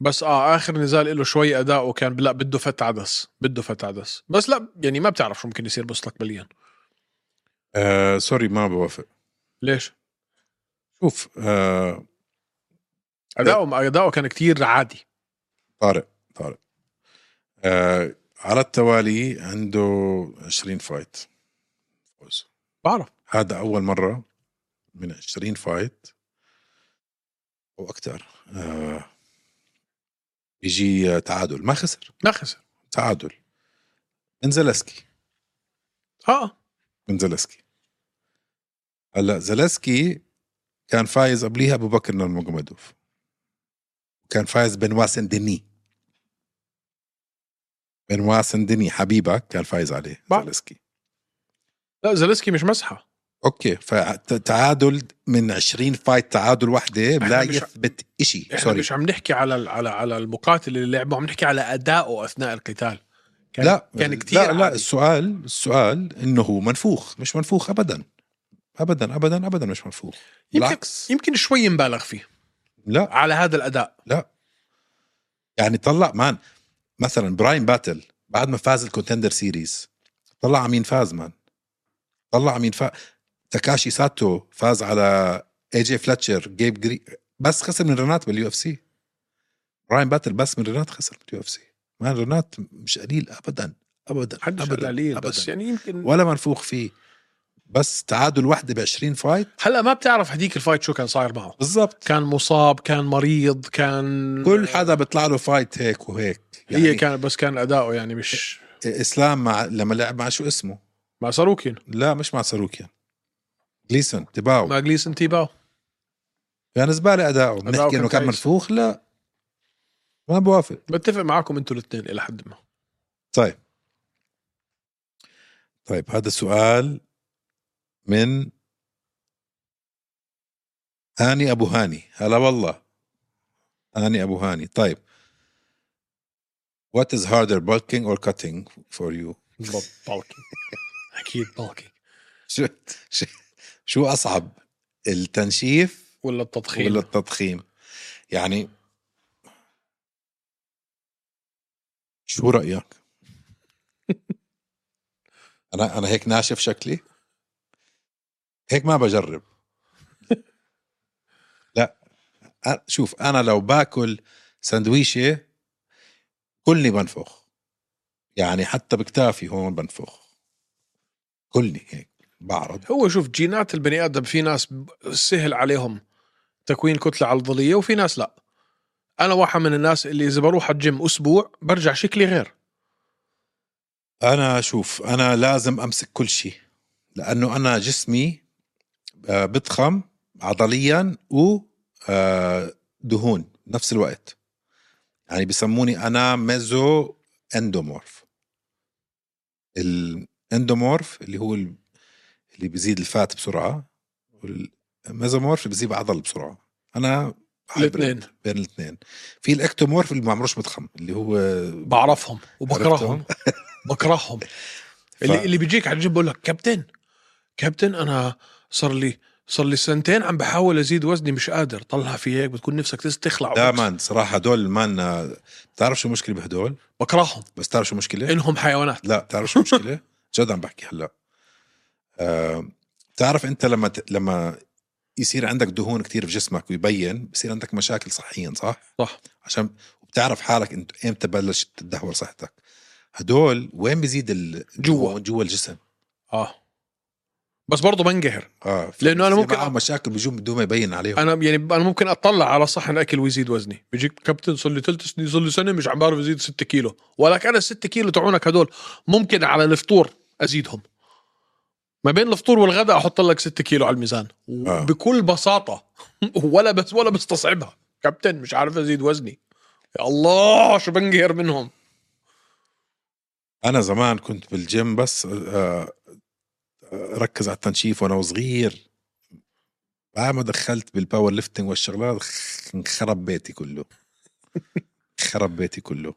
[SPEAKER 1] بس اه اخر نزال له شوي اداؤه كان لا بده فت عدس بده فت عدس بس لا يعني ما بتعرف شو ممكن يصير مستقبليا
[SPEAKER 2] آه سوري ما بوافق
[SPEAKER 1] ليش؟
[SPEAKER 2] شوف آه
[SPEAKER 1] اداؤه اداؤه كان كتير عادي
[SPEAKER 2] طارق طارق آه على التوالي عنده 20 فايت فوز
[SPEAKER 1] بعرف
[SPEAKER 2] هذا أول مرة من 20 فايت أو أكثر آه يجي تعادل ما خسر
[SPEAKER 1] ما خسر
[SPEAKER 2] تعادل من زلسكي
[SPEAKER 1] اه
[SPEAKER 2] من زلسكي هلا زلسكي كان فايز قبليها أبو بكر نورمagomedov كان فايز بنوا سندني بنوا سندني حبيبك كان فايز عليه
[SPEAKER 1] بعرف.
[SPEAKER 2] زلسكي
[SPEAKER 1] لا زلسكي مش مسحه
[SPEAKER 2] اوكي فتعادل من 20 فايت تعادل واحده
[SPEAKER 1] إحنا
[SPEAKER 2] لا
[SPEAKER 1] مش-
[SPEAKER 2] يثبت شيء
[SPEAKER 1] احنا
[SPEAKER 2] سوري
[SPEAKER 1] مش عم نحكي على ال- على على المقاتل اللي لعبه عم نحكي على ادائه اثناء القتال كان
[SPEAKER 2] لا
[SPEAKER 1] كان يعني كتير
[SPEAKER 2] لا, لا
[SPEAKER 1] عادي.
[SPEAKER 2] السؤال السؤال انه هو منفوخ مش منفوخ ابدا ابدا ابدا ابدا مش منفوخ
[SPEAKER 1] يمكن
[SPEAKER 2] بالعكس
[SPEAKER 1] يمكن شوي مبالغ فيه
[SPEAKER 2] لا
[SPEAKER 1] على هذا الاداء
[SPEAKER 2] يعني طلع مان مثلا براين باتل بعد ما فاز الكونتندر سيريز طلع على مين فاز مان طلع على مين فاز تاكاشي ساتو فاز على اي جي فلتشر جيب جري بس خسر من رينات باليو اف سي براين باتل بس من رينات خسر باليو اف سي مان رينات مش قليل ابدا ابدا
[SPEAKER 1] حدش
[SPEAKER 2] أبداً،
[SPEAKER 1] قليل
[SPEAKER 2] أبداً.
[SPEAKER 1] بس يعني يمكن
[SPEAKER 2] ولا منفوخ فيه بس تعادل وحده ب 20 فايت
[SPEAKER 1] هلا ما بتعرف هديك الفايت شو كان صاير معه
[SPEAKER 2] بالضبط
[SPEAKER 1] كان مصاب كان مريض كان
[SPEAKER 2] كل حدا بيطلع له فايت هيك وهيك
[SPEAKER 1] هي
[SPEAKER 2] يعني
[SPEAKER 1] كان بس كان اداؤه يعني مش
[SPEAKER 2] اسلام مع لما لعب مع شو اسمه
[SPEAKER 1] مع ساروكين
[SPEAKER 2] لا مش مع ساروكيان جليسون تباعه يعني
[SPEAKER 1] مع جليسون تيباو
[SPEAKER 2] كان زباله اداؤه بنحكي
[SPEAKER 1] كان
[SPEAKER 2] انه كان
[SPEAKER 1] كويس.
[SPEAKER 2] منفوخ لا ما بوافق
[SPEAKER 1] بتفق معاكم انتوا الاثنين الى حد ما
[SPEAKER 2] طيب طيب هذا سؤال من هاني ابو هاني هلا والله هاني ابو هاني طيب What is harder bulking or cutting for you
[SPEAKER 1] بالكي اكيد بالكي
[SPEAKER 2] شو شو- شو اصعب التنشيف
[SPEAKER 1] ولا التضخيم
[SPEAKER 2] ولا التضخيم يعني شو رأيك؟ أنا أنا هيك ناشف شكلي؟ هيك ما بجرب لا أ- شوف أنا لو باكل سندويشة كلني بنفخ يعني حتى بكتافي هون بنفخ كلني هيك بعرض
[SPEAKER 1] هو شوف جينات البني ادم في ناس سهل عليهم تكوين كتله عضليه وفي ناس لا انا واحد من الناس اللي اذا بروح على الجيم اسبوع برجع شكلي غير
[SPEAKER 2] أنا شوف أنا لازم أمسك كل شيء لأنه أنا جسمي آه، بضخم عضليا و آه، دهون نفس الوقت يعني بسموني أنا ميزو اندومورف الاندومورف اللي هو ال- اللي بيزيد الفات بسرعة والميزومورف اللي بيزيد عضل بسرعة أنا hybrid
[SPEAKER 1] الاثنين
[SPEAKER 2] بين الاثنين في الاكتومورف اللي ما عمروش بضخم اللي هو
[SPEAKER 1] بعرفهم
[SPEAKER 2] عرفتهم؟
[SPEAKER 1] وبكرههم بكرههم اللي اللي بيجيك على الجيم بقول لك كابتن كابتن انا صار لي صار لي سنتين عم بحاول ازيد وزني مش قادر طلع في هيك بتكون نفسك تس- تخلع
[SPEAKER 2] لا مان صراحة هدول مان آه، بتعرف شو المشكلة بهدول؟
[SPEAKER 1] بكرههم
[SPEAKER 2] بس تعرف شو المشكلة؟
[SPEAKER 1] انهم حيوانات
[SPEAKER 2] لا بتعرف شو المشكلة؟ جد عم بحكي هلا آه، بتعرف انت لما ت... لما يصير عندك دهون كتير في جسمك ويبين بصير عندك مشاكل صحيا صح؟
[SPEAKER 1] صح
[SPEAKER 2] عشان بتعرف حالك انت امتى بلشت تدهور صحتك هدول وين بيزيد ال...
[SPEAKER 1] جوا.
[SPEAKER 2] جوا الجسم
[SPEAKER 1] اه آه. بس برضه بنقهر
[SPEAKER 2] اه
[SPEAKER 1] لأنه أنا
[SPEAKER 2] في
[SPEAKER 1] ممكن
[SPEAKER 2] معاه
[SPEAKER 1] أ-
[SPEAKER 2] مشاكل بيجون بدون ما يبين عليهم
[SPEAKER 1] انا يعني انا ممكن اطلع على صحن اكل ويزيد وزني بيجيك كابتن صار لي ثلاث سنين صار لي سنه مش عم بعرف ازيد 6 كيلو ولك انا 6 كيلو تاعونك هدول ممكن على الفطور ازيدهم ما بين الفطور والغداء احط لك 6 كيلو على الميزان
[SPEAKER 2] آه.
[SPEAKER 1] بكل بساطه ولا بس ولا بستصعبها كابتن مش عارف ازيد وزني يا الله شو بنقهر منهم
[SPEAKER 2] انا زمان كنت بالجيم بس آه، آه، ركز على التنشيف وانا صغير بعد ما دخلت بالباور ليفتنج والشغلات خ- انخرب بيتي كله خرب بيتي كله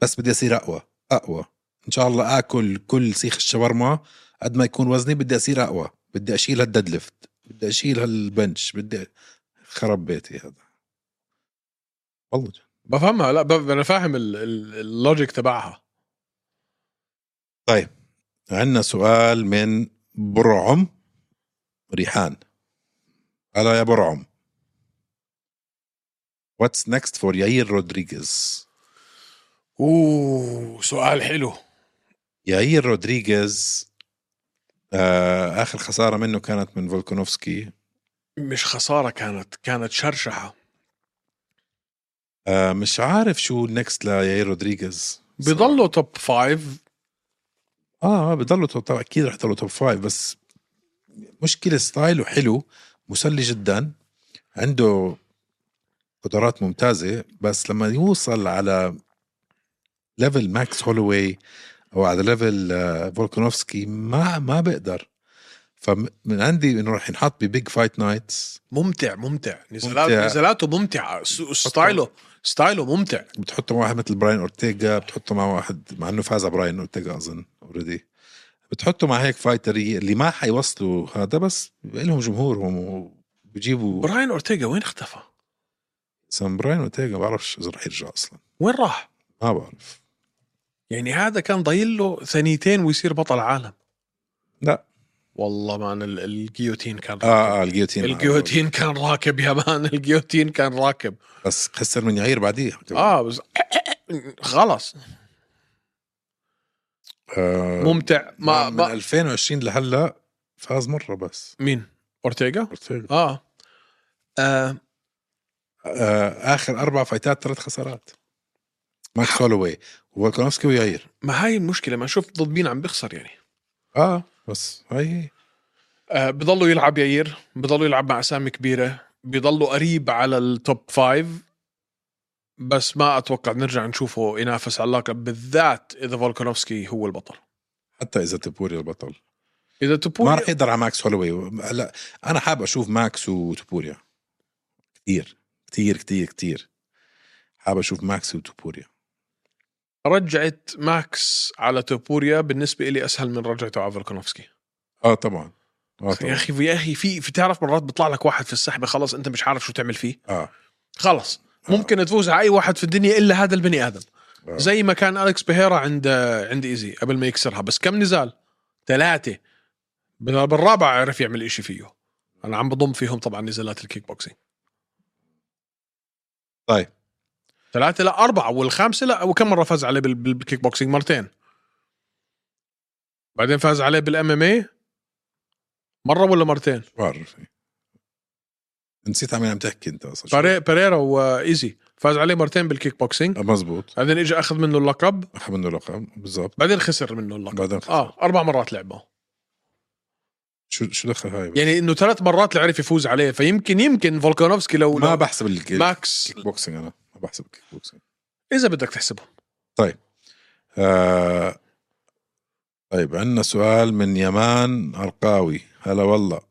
[SPEAKER 2] بس بدي اصير اقوى اقوى ان شاء الله اكل كل سيخ الشاورما قد ما يكون وزني بدي اصير اقوى بدي اشيل هالديد ليفت بدي اشيل هالبنش بدي خرب بيتي هذا والله
[SPEAKER 1] بفهمها لا بف... انا فاهم ال- ال- اللوجيك تبعها
[SPEAKER 2] عندنا سؤال من برعم ريحان هلا يا برعم What's next for ياير رودريغيز
[SPEAKER 1] اوه سؤال حلو
[SPEAKER 2] ياير رودريغيز آه آخر خسارة منه كانت من فولكانوفسكي
[SPEAKER 1] مش خساره كانت كانت شرشحه
[SPEAKER 2] آه مش عارف شو النكست لياير رودريغيز
[SPEAKER 1] بضلوا توب فايف
[SPEAKER 2] اه بضلوا توب طبعا اكيد رح يضلوا توب فايف بس مشكله ستايله حلو مسلي جدا عنده قدرات ممتازه بس لما يوصل على ليفل ماكس هولوي او على ليفل آه، فولكانوفسكي ما ما بقدر فمن عندي انه رح ينحط ببيج فايت نايتس
[SPEAKER 1] ممتع ممتع نزالات
[SPEAKER 2] ممتع.
[SPEAKER 1] نزالاته ممتعه س- ستايله ستايله ممتع
[SPEAKER 2] بتحطه مع واحد مثل براين اورتيغا بتحطه مع واحد مع انه فاز على براين اورتيغا اظن اوريدي بتحطه مع هيك فايتر اللي ما حيوصلوا هذا بس لهم جمهورهم وبجيبوا
[SPEAKER 1] براين اورتيغا وين اختفى؟
[SPEAKER 2] سان براين اورتيغا ما بعرفش اذا رح يرجع اصلا
[SPEAKER 1] وين راح؟
[SPEAKER 2] ما بعرف
[SPEAKER 1] يعني هذا كان ضايل له ثانيتين ويصير بطل عالم
[SPEAKER 2] لا.
[SPEAKER 1] والله مان ال- الجيوتين كان
[SPEAKER 2] اه اه الجيوتين
[SPEAKER 1] الجيوتين كان راكب يا مان الجيوتين كان راكب
[SPEAKER 2] بس خسر من يعير بعديه
[SPEAKER 1] اه بس خلص
[SPEAKER 2] آه
[SPEAKER 1] ممتع ما,
[SPEAKER 2] من
[SPEAKER 1] ما
[SPEAKER 2] 2020 لهلا فاز مره بس
[SPEAKER 1] مين؟ اورتيغا؟
[SPEAKER 2] اورتيغا
[SPEAKER 1] اه, آه.
[SPEAKER 2] آه اخر اربع فايتات ثلاث خسارات ماكس هولوي وفولكانوفسكي ويعير
[SPEAKER 1] ما هاي المشكله ما شوف ضد مين عم بيخسر يعني
[SPEAKER 2] اه بس هاي هي
[SPEAKER 1] آه، بضلوا يلعب يعير بضلوا يلعب مع اسامي كبيره بضلوا قريب على التوب فايف بس ما اتوقع نرجع نشوفه ينافس على اللقب بالذات اذا فولكانوفسكي هو البطل
[SPEAKER 2] حتى اذا تبوري البطل
[SPEAKER 1] اذا
[SPEAKER 2] ما
[SPEAKER 1] تبوريا
[SPEAKER 2] راح يقدر على ماكس هولوي هلا انا حابب اشوف ماكس وتوبوريا كثير كثير كثير كثير حابب اشوف ماكس وتوبوريا
[SPEAKER 1] رجعت ماكس على تبوريا بالنسبه لي اسهل من رجعته على فولكانوفسكي
[SPEAKER 2] اه طبعا اه
[SPEAKER 1] يا
[SPEAKER 2] طبعا
[SPEAKER 1] اخي يا اخي في في تعرف مرات بيطلع لك واحد في السحبه خلص انت مش عارف شو تعمل فيه
[SPEAKER 2] اه
[SPEAKER 1] خلص
[SPEAKER 2] آه.
[SPEAKER 1] ممكن تفوز على اي واحد في الدنيا الا هذا البني ادم
[SPEAKER 2] آه.
[SPEAKER 1] زي ما كان اليكس بيهيرا عند عند ايزي قبل ما يكسرها بس كم نزال ثلاثه بال- بالرابع عرف يعمل إشي فيه انا عم بضم فيهم طبعا نزالات الكيك بوكسينج
[SPEAKER 2] طيب
[SPEAKER 1] ثلاثه لا اربعه والخامسه لا وكم مره فاز عليه بال- بال- بالكيك بوكسينج مرتين بعدين فاز عليه بالام ام اي مره ولا مرتين
[SPEAKER 2] بعرف نسيت عن مين عم تحكي انت اصلا شو-
[SPEAKER 1] بري- بريرا وايزي فاز عليه مرتين بالكيك بوكسينج
[SPEAKER 2] آه، مزبوط
[SPEAKER 1] بعدين اجى اخذ منه اللقب
[SPEAKER 2] اخذ منه لقب بالضبط
[SPEAKER 1] بعدين خسر منه اللقب
[SPEAKER 2] بعدين خسر.
[SPEAKER 1] اه اربع مرات لعبه
[SPEAKER 2] شو شو دخل هاي بس؟
[SPEAKER 1] يعني انه ثلاث مرات اللي عرف يفوز عليه فيمكن يمكن فولكانوفسكي لو
[SPEAKER 2] ما
[SPEAKER 1] لو
[SPEAKER 2] بحسب الكيك
[SPEAKER 1] ماكس
[SPEAKER 2] بوكسينج انا ما بحسب الكيك بوكسينج
[SPEAKER 1] اذا بدك تحسبه
[SPEAKER 2] آه طيب عندنا سؤال من يمان أرقاوي هلا والله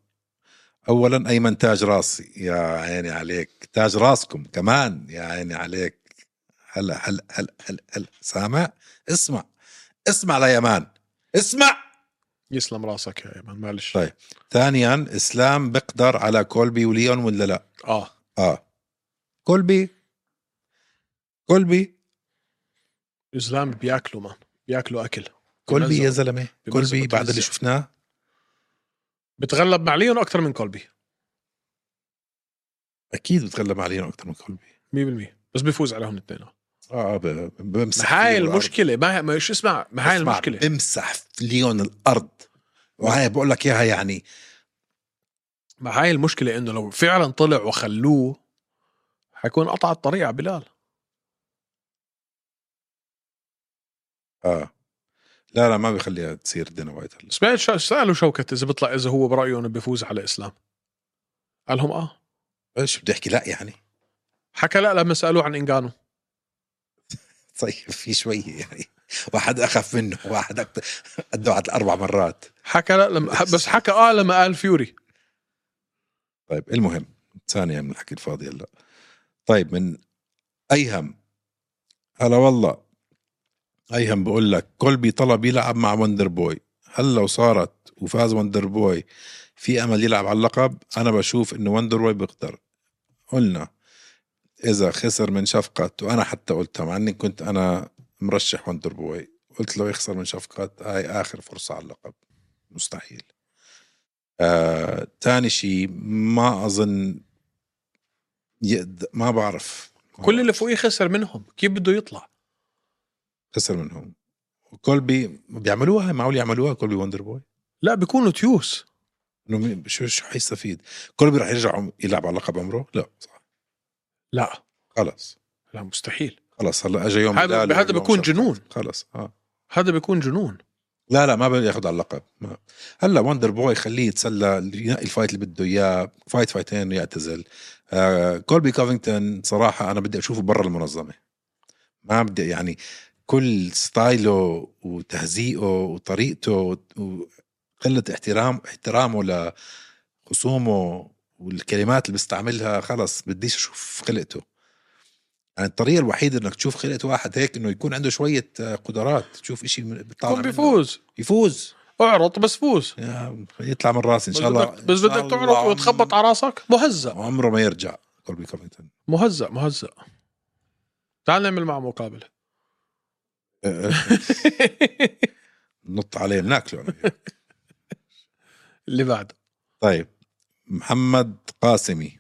[SPEAKER 2] أولا أيمن تاج راسي يا عيني عليك تاج راسكم كمان يا عيني عليك هلا هلا هلا هلا هلا سامع اسمع اسمع ليمان اسمع
[SPEAKER 1] يسلم راسك يا ايمن معلش
[SPEAKER 2] طيب. ثانيا اسلام بقدر على كولبي وليون ولا لا
[SPEAKER 1] اه
[SPEAKER 2] اه كولبي كولبي
[SPEAKER 1] اسلام بياكلوا مان بياكلوا اكل
[SPEAKER 2] كولبي يا
[SPEAKER 1] بيمزقوا.
[SPEAKER 2] زلمه
[SPEAKER 1] بمزق
[SPEAKER 2] كولبي بعد اللي
[SPEAKER 1] وتمزق.
[SPEAKER 2] شفناه
[SPEAKER 1] بتغلب مع ليون اكثر من كولبي
[SPEAKER 2] اكيد بتغلب على ليون اكثر من كولبي
[SPEAKER 1] 100% بس بيفوز عليهم الاثنين
[SPEAKER 2] اه آه، ب- بمسح
[SPEAKER 1] ما هاي
[SPEAKER 2] فيه الأرض.
[SPEAKER 1] المشكله ما ما ايش اسمع ما هاي
[SPEAKER 2] اسمع،
[SPEAKER 1] المشكله
[SPEAKER 2] بمسح في ليون الارض
[SPEAKER 1] آه.
[SPEAKER 2] وهي بقول لك اياها يعني
[SPEAKER 1] ما هاي المشكله انه لو فعلا طلع وخلوه حيكون قطع الطريق على بلال آه.
[SPEAKER 2] اه لا لا ما بيخليها تصير دينا وايت هلا
[SPEAKER 1] سمعت شا- سالوا شوكت اذا بيطلع اذا هو برايه انه بيفوز على الاسلام قال لهم اه
[SPEAKER 2] ايش بدي احكي لا يعني
[SPEAKER 1] حكى لا لما سالوه عن انجانو
[SPEAKER 2] طيب في شويه يعني واحد اخف منه واحد اكثر قدوا على الاربع مرات
[SPEAKER 1] حكى لا لما بس حكى اه لما قال فيوري
[SPEAKER 2] طيب المهم ثانية من الحكي الفاضي هلا طيب من أيهم هلا والله أيهم بقول لك كولبي طلب يلعب مع وندر بوي هل لو صارت وفاز وندر بوي في أمل يلعب على اللقب أنا بشوف إنه وندر بوي بيقدر قلنا إذا خسر من شفقت وأنا حتى قلتها مع إني كنت أنا مرشح وندر بوي قلت لو يخسر من شفقت هاي آخر فرصة على اللقب مستحيل آه، تاني شيء ما اظن يقد... ما بعرف
[SPEAKER 1] كل اللي فوقيه خسر منهم كيف بده يطلع
[SPEAKER 2] خسر منهم كولبي بيعملوها معقول يعملوها كولبي وندر بوي
[SPEAKER 1] لا بيكونوا تيوس
[SPEAKER 2] انه مين- شو شو حيستفيد كولبي رح يرجع عم- يلعب على لقب عمره لا صح
[SPEAKER 1] لا
[SPEAKER 2] خلص
[SPEAKER 1] لا مستحيل
[SPEAKER 2] خلص هلا اجى يوم
[SPEAKER 1] هذا-
[SPEAKER 2] بلال
[SPEAKER 1] هذا
[SPEAKER 2] ويوم
[SPEAKER 1] بكون
[SPEAKER 2] شفقة.
[SPEAKER 1] جنون.
[SPEAKER 2] خلص اه
[SPEAKER 1] هذا بيكون جنون
[SPEAKER 2] لا لا ما بده ياخذ على اللقب ما. هلا وندر بوي خليه يتسلى ينقي الفايت اللي بده اياه فايت فايتين ويعتزل آه كولبي كوفينغتون صراحه انا بدي اشوفه برا المنظمه ما بدي يعني كل ستايله وتهزيئه وطريقته وقله احترام احترامه لخصومه والكلمات اللي بيستعملها خلص بديش اشوف خلقته يعني الطريقه الوحيده انك تشوف خلقه واحد هيك انه يكون عنده شويه آه، قدرات تشوف شيء بيطلع
[SPEAKER 1] كون
[SPEAKER 2] منه.
[SPEAKER 1] بيفوز
[SPEAKER 2] يفوز
[SPEAKER 1] اعرض بس فوز
[SPEAKER 2] يا يطلع من راسي ان
[SPEAKER 1] بس
[SPEAKER 2] شاء الله
[SPEAKER 1] بدك بس
[SPEAKER 2] إن شاء
[SPEAKER 1] بدك
[SPEAKER 2] الله
[SPEAKER 1] تعرض وتخبط على راسك مهزأ
[SPEAKER 2] عمره ما يرجع كولبي كوفينغتون
[SPEAKER 1] مهزأ مهزأ تعال نعمل معه مقابله
[SPEAKER 2] أه، أه، نط عليه بناكله أنا وياه.
[SPEAKER 1] اللي بعده
[SPEAKER 2] طيب محمد قاسمي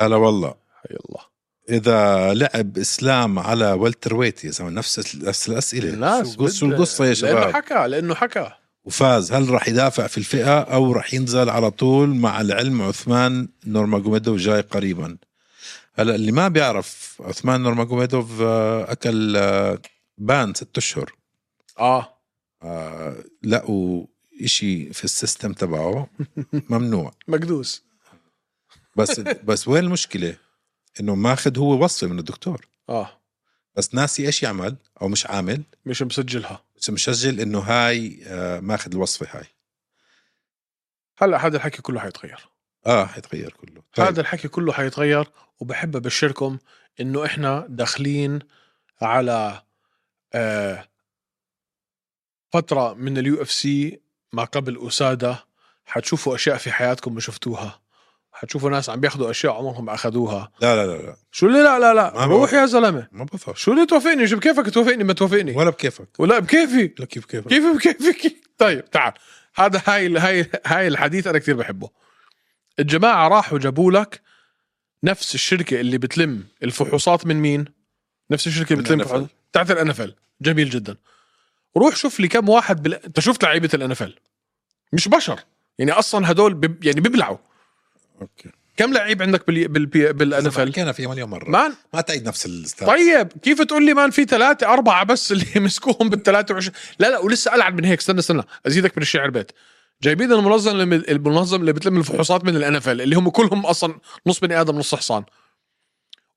[SPEAKER 2] هلا والله
[SPEAKER 1] هي الله
[SPEAKER 2] اذا لعب اسلام على والتر ويت يا زلمه نفس ال- نفس الاسئله شو القص- شو
[SPEAKER 1] بدها-
[SPEAKER 2] القصه يا
[SPEAKER 1] لانه
[SPEAKER 2] شباب
[SPEAKER 1] حكى لانه حكى
[SPEAKER 2] وفاز هل راح يدافع في الفئه او راح ينزل على طول مع العلم عثمان نورماجوميدوف جاي قريبا هلا اللي ما بيعرف عثمان نورماجوميدوف آه، اكل آه، بان ست اشهر
[SPEAKER 1] اه
[SPEAKER 2] آه، لقوا إشي في السيستم تبعه ممنوع
[SPEAKER 1] مقدوس
[SPEAKER 2] بس بس وين المشكله انه ماخذ هو وصفه من الدكتور
[SPEAKER 1] اه
[SPEAKER 2] بس ناسي ايش يعمل او مش عامل
[SPEAKER 1] مش مسجلها
[SPEAKER 2] بس مسجل انه هاي آه، ماخذ الوصفه هاي
[SPEAKER 1] هلا هذا الحكي كله حيتغير
[SPEAKER 2] اه حيتغير كله
[SPEAKER 1] طيب.
[SPEAKER 2] طيب.
[SPEAKER 1] هذا الحكي كله حيتغير وبحب ابشركم انه احنا داخلين على آه فتره من اليو اف سي ما قبل اساده حتشوفوا اشياء في حياتكم ما شفتوها حتشوفوا ناس عم بياخذوا اشياء عمرهم ما اخذوها
[SPEAKER 2] لا لا لا لا
[SPEAKER 1] شو اللي لا لا لا
[SPEAKER 2] ما
[SPEAKER 1] روح
[SPEAKER 2] بعرف.
[SPEAKER 1] يا زلمه
[SPEAKER 2] ما بفهم
[SPEAKER 1] شو اللي توافقني شو بكيفك توافقني ما توافقني
[SPEAKER 2] ولا بكيفك
[SPEAKER 1] ولا بكيفي
[SPEAKER 2] لا كيف كيفك
[SPEAKER 1] كيف بكيفك طيب تعال هذا هاي هاي هاي الحديث انا كثير بحبه الجماعه راحوا جابوا لك نفس الشركه اللي بتلم الفحوصات من مين نفس الشركه اللي
[SPEAKER 2] من
[SPEAKER 1] بتلم
[SPEAKER 2] NFL.
[SPEAKER 1] الفحوصات بتاعت الانفل جميل جدا روح شوف لي كم واحد بال... انت شفت لعيبه الانفل مش بشر يعني اصلا هدول بب... يعني بيبلعوا
[SPEAKER 2] اوكي
[SPEAKER 1] كم لعيب عندك بال... بال...
[SPEAKER 2] انا
[SPEAKER 1] بالانفل
[SPEAKER 2] حكينا فيها مليون مره ما,
[SPEAKER 1] مان
[SPEAKER 2] ما تعيد نفس الستايل
[SPEAKER 1] طيب كيف تقول لي مان في ثلاثة أربعة بس اللي مسكوهم بال 23 لا لا ولسه ألعن من هيك استنى استنى أزيدك من الشعر بيت جايبين المنظم اللي المنظم اللي بتلم الفحوصات من الانفل اللي هم كلهم اصلا نص بني ادم نص حصان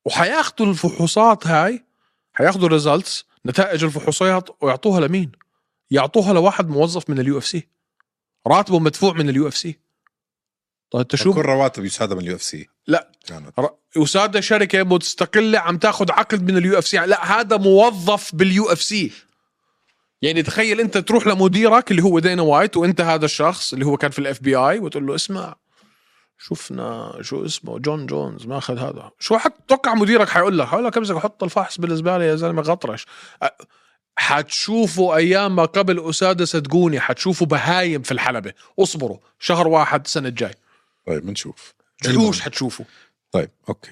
[SPEAKER 1] وحياخذوا الفحوصات هاي حياخذوا ريزلتس نتائج الفحوصات ويعطوها لمين؟ يعطوها لواحد موظف من اليو اف سي راتبه مدفوع من اليو اف سي طيب انت شو
[SPEAKER 2] كل رواتب يساعدها من اليو اف سي
[SPEAKER 1] لا.
[SPEAKER 2] كانت
[SPEAKER 1] ر- وسادة شركة مستقلة عم تاخذ عقد من اليو اف سي لا هذا موظف باليو اف سي يعني تخيل انت تروح لمديرك اللي هو دينا وايت وانت هذا الشخص اللي هو كان في الاف بي اي وتقول له اسمع شفنا شو اسمه جون جونز ما اخذ هذا شو حط توقع مديرك حيقول لك حيقول لك امسك حط الفحص بالزباله يا زلمه غطرش أ- حتشوفوا ايام ما قبل اساده صدقوني حتشوفوا بهايم في الحلبه اصبروا شهر واحد السنه الجاي
[SPEAKER 2] طيب بنشوف
[SPEAKER 1] جلوش حتشوفوا
[SPEAKER 2] طيب اوكي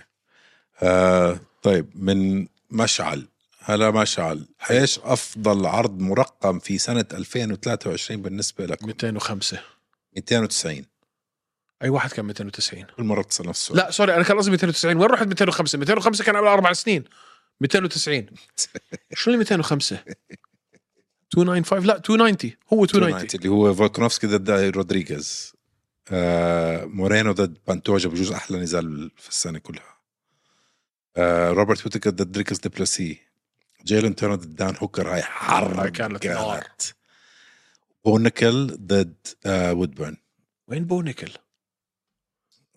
[SPEAKER 2] آه طيب من مشعل هلا مشعل ايش افضل عرض مرقم في سنه 2023 بالنسبه لكم
[SPEAKER 1] 205
[SPEAKER 2] 290
[SPEAKER 1] اي واحد كان 290
[SPEAKER 2] كل مره بتسال نفسه
[SPEAKER 1] لا سوري انا كان قصدي 290 وين رحت 205 205 كان قبل اربع سنين 290 شو اللي 205 295 لا 290 هو 290
[SPEAKER 2] اللي هو فولكنوفسكي ضد رودريغيز آه مورينو ضد بانتوجا بجوز احلى نزال في السنه كلها آه روبرت ويتكر ضد دريكس ديبلاسي جيلن تيرنر ضد دان هوكر هاي حر
[SPEAKER 1] هاي كانت نار.
[SPEAKER 2] بونكل ضد آه وودبيرن
[SPEAKER 1] وين بونيكل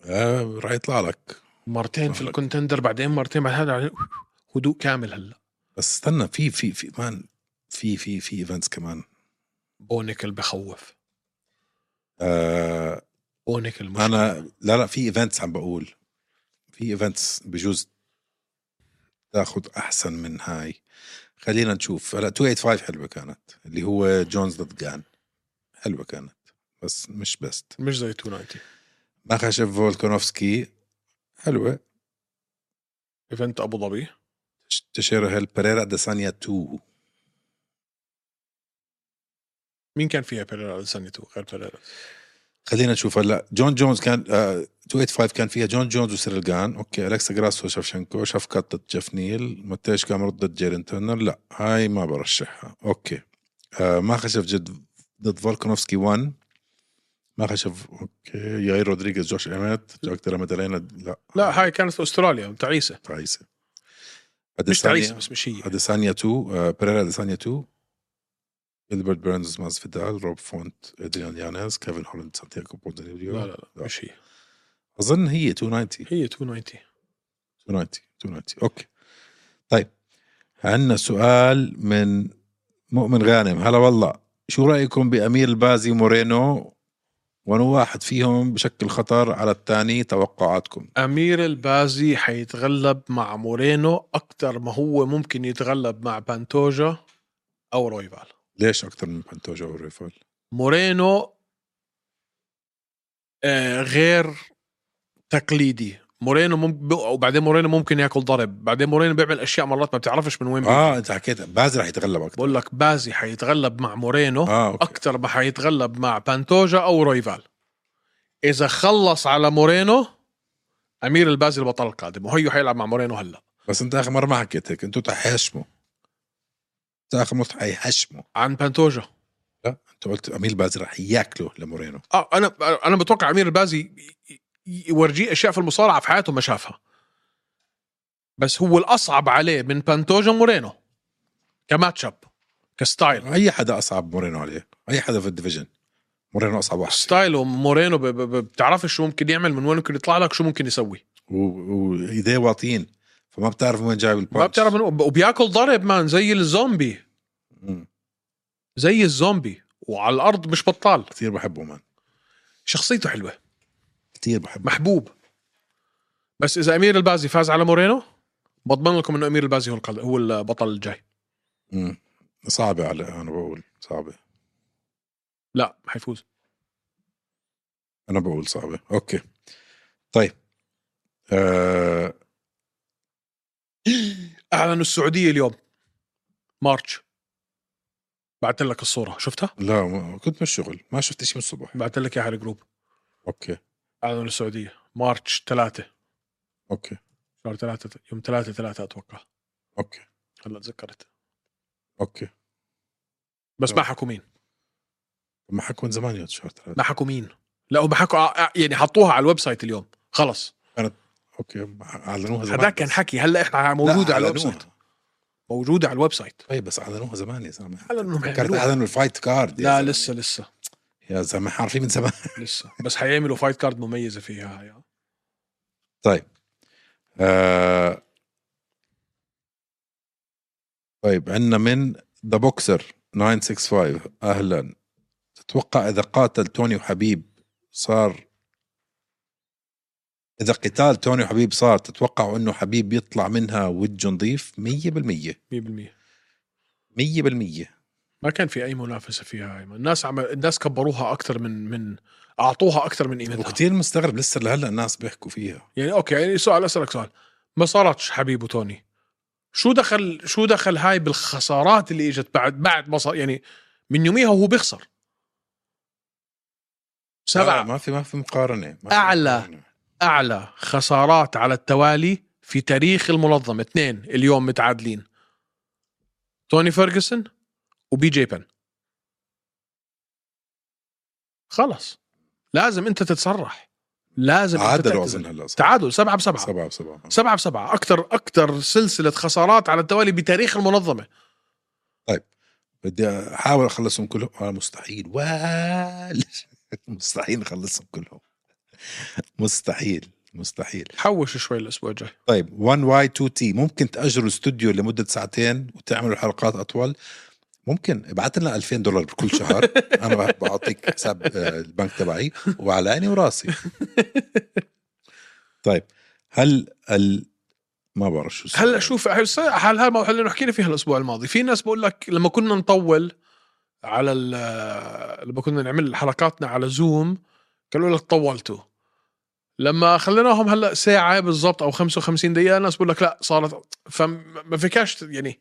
[SPEAKER 2] آه راح يطلع لك
[SPEAKER 1] مرتين في
[SPEAKER 2] صح.
[SPEAKER 1] الكونتندر بعدين مرتين بعد هذا بعدين- هدوء كامل هلا
[SPEAKER 2] بس استنى في في في مان في في في ايفنتس كمان
[SPEAKER 1] بونيكل بخوف
[SPEAKER 2] آه
[SPEAKER 1] بونيكل مش
[SPEAKER 2] انا لا لا في ايفنتس عم بقول في ايفنتس بجوز تاخذ احسن من هاي خلينا نشوف هلا 285 حلوه كانت اللي هو جونز ضد جان حلوه كانت بس مش بست
[SPEAKER 1] مش زي 290
[SPEAKER 2] ماخشف فولكونوفسكي حلوه
[SPEAKER 1] ايفنت ابو ظبي
[SPEAKER 2] تشيرو هيل بريرا ديسانيا 2
[SPEAKER 1] مين كان فيها بيريرا سنته غير بيريرا
[SPEAKER 2] خلينا نشوف هلا جون جونز كان آه 285 كان فيها جون جونز وسيريل جان اوكي الكسا جراسو شفشنكو شفكات ضد جيف نيل ماتيش كامر ضد جيرين ترنر لا هاي ما برشحها اوكي آه ما خشف جد ضد فولكنوفسكي 1 ما خشف اوكي ياير رودريغيز جوش ايمت جاك ديلا مادالينا لا
[SPEAKER 1] لا هاي كانت في استراليا تعيسه
[SPEAKER 2] تعيسه
[SPEAKER 1] مش تعيسه بس مش هي
[SPEAKER 2] اديسانيا 2 آه، بيريرا اديسانيا 2 البرت بيرنز ماز فيدال روب فونت ادريان يانيز كيفن هولند سانتياغو بوندريبيو
[SPEAKER 1] لا لا لا مش هي
[SPEAKER 2] اظن هي 290
[SPEAKER 1] هي 290
[SPEAKER 2] 290 290 اوكي طيب عندنا سؤال من مؤمن غانم هلا والله شو رايكم بامير البازي مورينو ونو واحد فيهم بشكل خطر على الثاني توقعاتكم
[SPEAKER 1] امير البازي حيتغلب مع مورينو اكثر ما هو ممكن يتغلب مع بانتوجا او رويفال
[SPEAKER 2] ليش اكثر من بانتوجا والريفال
[SPEAKER 1] مورينو آه، غير تقليدي مورينو ممكن وبعدين مورينو ممكن ياكل ضرب بعدين مورينو بيعمل اشياء مرات ما بتعرفش من وين بيجي.
[SPEAKER 2] اه انت حكيت بازي رح يتغلب اكثر
[SPEAKER 1] بقول لك بازي حيتغلب مع مورينو
[SPEAKER 2] اه اوكي
[SPEAKER 1] اكثر ما حيتغلب مع بانتوجا او رويفال اذا خلص على مورينو امير البازي البطل القادم وهيو حيلعب مع مورينو هلا
[SPEAKER 2] بس انت اخر مره ما حكيت هيك انتوا تحيشموا انت اخر مره حيحشموا
[SPEAKER 1] عن بانتوجا
[SPEAKER 2] لا انت قلت امير بازي رح ياكله لمورينو
[SPEAKER 1] اه انا انا بتوقع امير البازي ي- ي- يورجيه اشياء في المصارعه في حياته ما شافها بس هو الاصعب عليه من بانتوجا مورينو كماتش اب كستايل
[SPEAKER 2] اي حدا اصعب مورينو عليه اي حدا في الديفيجن مورينو اصعب واحد
[SPEAKER 1] ستايله مورينو ب- ب- ب- بتعرفش شو ممكن يعمل من وين ممكن يطلع لك شو ممكن يسوي
[SPEAKER 2] و- وايديه واطيين فما بتعرف من وين جايب البانش
[SPEAKER 1] ما بتعرف من وبياكل ضرب مان زي الزومبي
[SPEAKER 2] مم.
[SPEAKER 1] زي الزومبي وعلى الارض مش بطال
[SPEAKER 2] كثير بحبه مان
[SPEAKER 1] شخصيته حلوه
[SPEAKER 2] كثير بحبه
[SPEAKER 1] محبوب بس اذا امير البازي فاز على مورينو بضمن لكم انه امير البازي هو القل- هو البطل الجاي
[SPEAKER 2] مم. صعبه على انا بقول صعبه
[SPEAKER 1] لا حيفوز
[SPEAKER 2] انا بقول صعبه اوكي طيب آه...
[SPEAKER 1] اعلنوا السعوديه اليوم مارتش بعت لك الصوره شفتها
[SPEAKER 2] لا ما... كنت بالشغل ما شفت شيء من الصبح
[SPEAKER 1] بعت لك اياها على الجروب
[SPEAKER 2] اوكي
[SPEAKER 1] اعلنوا السعوديه مارتش 3
[SPEAKER 2] اوكي
[SPEAKER 1] شهر 3 يوم 3 3 اتوقع
[SPEAKER 2] اوكي
[SPEAKER 1] هلا تذكرت
[SPEAKER 2] اوكي
[SPEAKER 1] بس ما حكوا مين
[SPEAKER 2] ما حكوا من زمان يا شهر ثلاثة
[SPEAKER 1] ما حكوا مين لا هم حكوا ع- يعني حطوها على الويب سايت اليوم خلص
[SPEAKER 2] اوكي ما ح- اعلنوها زمان
[SPEAKER 1] هذاك كان
[SPEAKER 2] بس.
[SPEAKER 1] حكي هلا احنا موجوده
[SPEAKER 2] لا،
[SPEAKER 1] على الويب
[SPEAKER 2] أعلنوها.
[SPEAKER 1] سايت موجوده على الويب سايت
[SPEAKER 2] طيب بس اعلنوها زمان يا زلمه
[SPEAKER 1] أعلنوا إنهم
[SPEAKER 2] فكرت
[SPEAKER 1] حيعملوها.
[SPEAKER 2] اعلنوا الفايت كارد يا
[SPEAKER 1] لا
[SPEAKER 2] زلمة.
[SPEAKER 1] لسه لسه
[SPEAKER 2] يا زلمه عارفين من زمان
[SPEAKER 1] لسه بس حيعملوا فايت كارد مميزه فيها هاي
[SPEAKER 2] طيب آه... طيب عندنا من ذا بوكسر 965 اهلا تتوقع اذا قاتل توني وحبيب صار اذا قتال توني وحبيب صار تتوقعوا انه حبيب يطلع منها وجه نظيف 100%
[SPEAKER 1] 100%
[SPEAKER 2] 100%
[SPEAKER 1] ما كان في اي منافسه فيها ايمن الناس عمل... الناس كبروها اكثر من من اعطوها اكثر من قيمتها
[SPEAKER 2] وكثير مستغرب لسه لهلا الناس بيحكوا فيها
[SPEAKER 1] يعني اوكي يعني سؤال اسالك سؤال ما صارتش حبيب وتوني شو دخل شو دخل هاي بالخسارات اللي اجت بعد بعد ما صار يعني من يوميها وهو بيخسر
[SPEAKER 2] سبعة
[SPEAKER 1] سبعه
[SPEAKER 2] آه، ما في ما في مقارنة ما في
[SPEAKER 1] أعلى.
[SPEAKER 2] مقارنة.
[SPEAKER 1] اعلى خسارات على التوالي في تاريخ المنظمه اثنين اليوم متعادلين توني فيرجسون وبي جي بن خلص لازم انت تتصرح لازم أنت
[SPEAKER 2] عادلوا
[SPEAKER 1] تعتذر.
[SPEAKER 2] أظن هلا صح؟
[SPEAKER 1] تعادل سبعة بسبعة
[SPEAKER 2] سبعة بسبعة
[SPEAKER 1] سبعة بسبعة أكثر أكثر سلسلة خسارات على التوالي بتاريخ المنظمة
[SPEAKER 2] بدي أحاول أخلصهم كلهم آه مستحيل وال مستحيل نخلصهم كلهم مستحيل مستحيل
[SPEAKER 1] حوش شوي الأسبوع الجاي
[SPEAKER 2] طيب 1 واي 2 تي ممكن تاجروا الاستوديو لمده ساعتين وتعملوا حلقات اطول ممكن ابعت لنا 2000 دولار بكل شهر انا بعطيك حساب آه، البنك تبعي وعلى عيني وراسي طيب هل ال... ما بعرف شو السؤال.
[SPEAKER 1] هلا شوف هس- هل هذا الموضوع اللي حكينا فيها الاسبوع الماضي في ناس بقول لك لما كنا نطول على ال- لما كنا نعمل حلقاتنا على زوم قالوا لك طولتوا لما خليناهم هلا ساعه بالضبط او 55 دقيقه ناس بقول لك لا صارت فما فيكاش يعني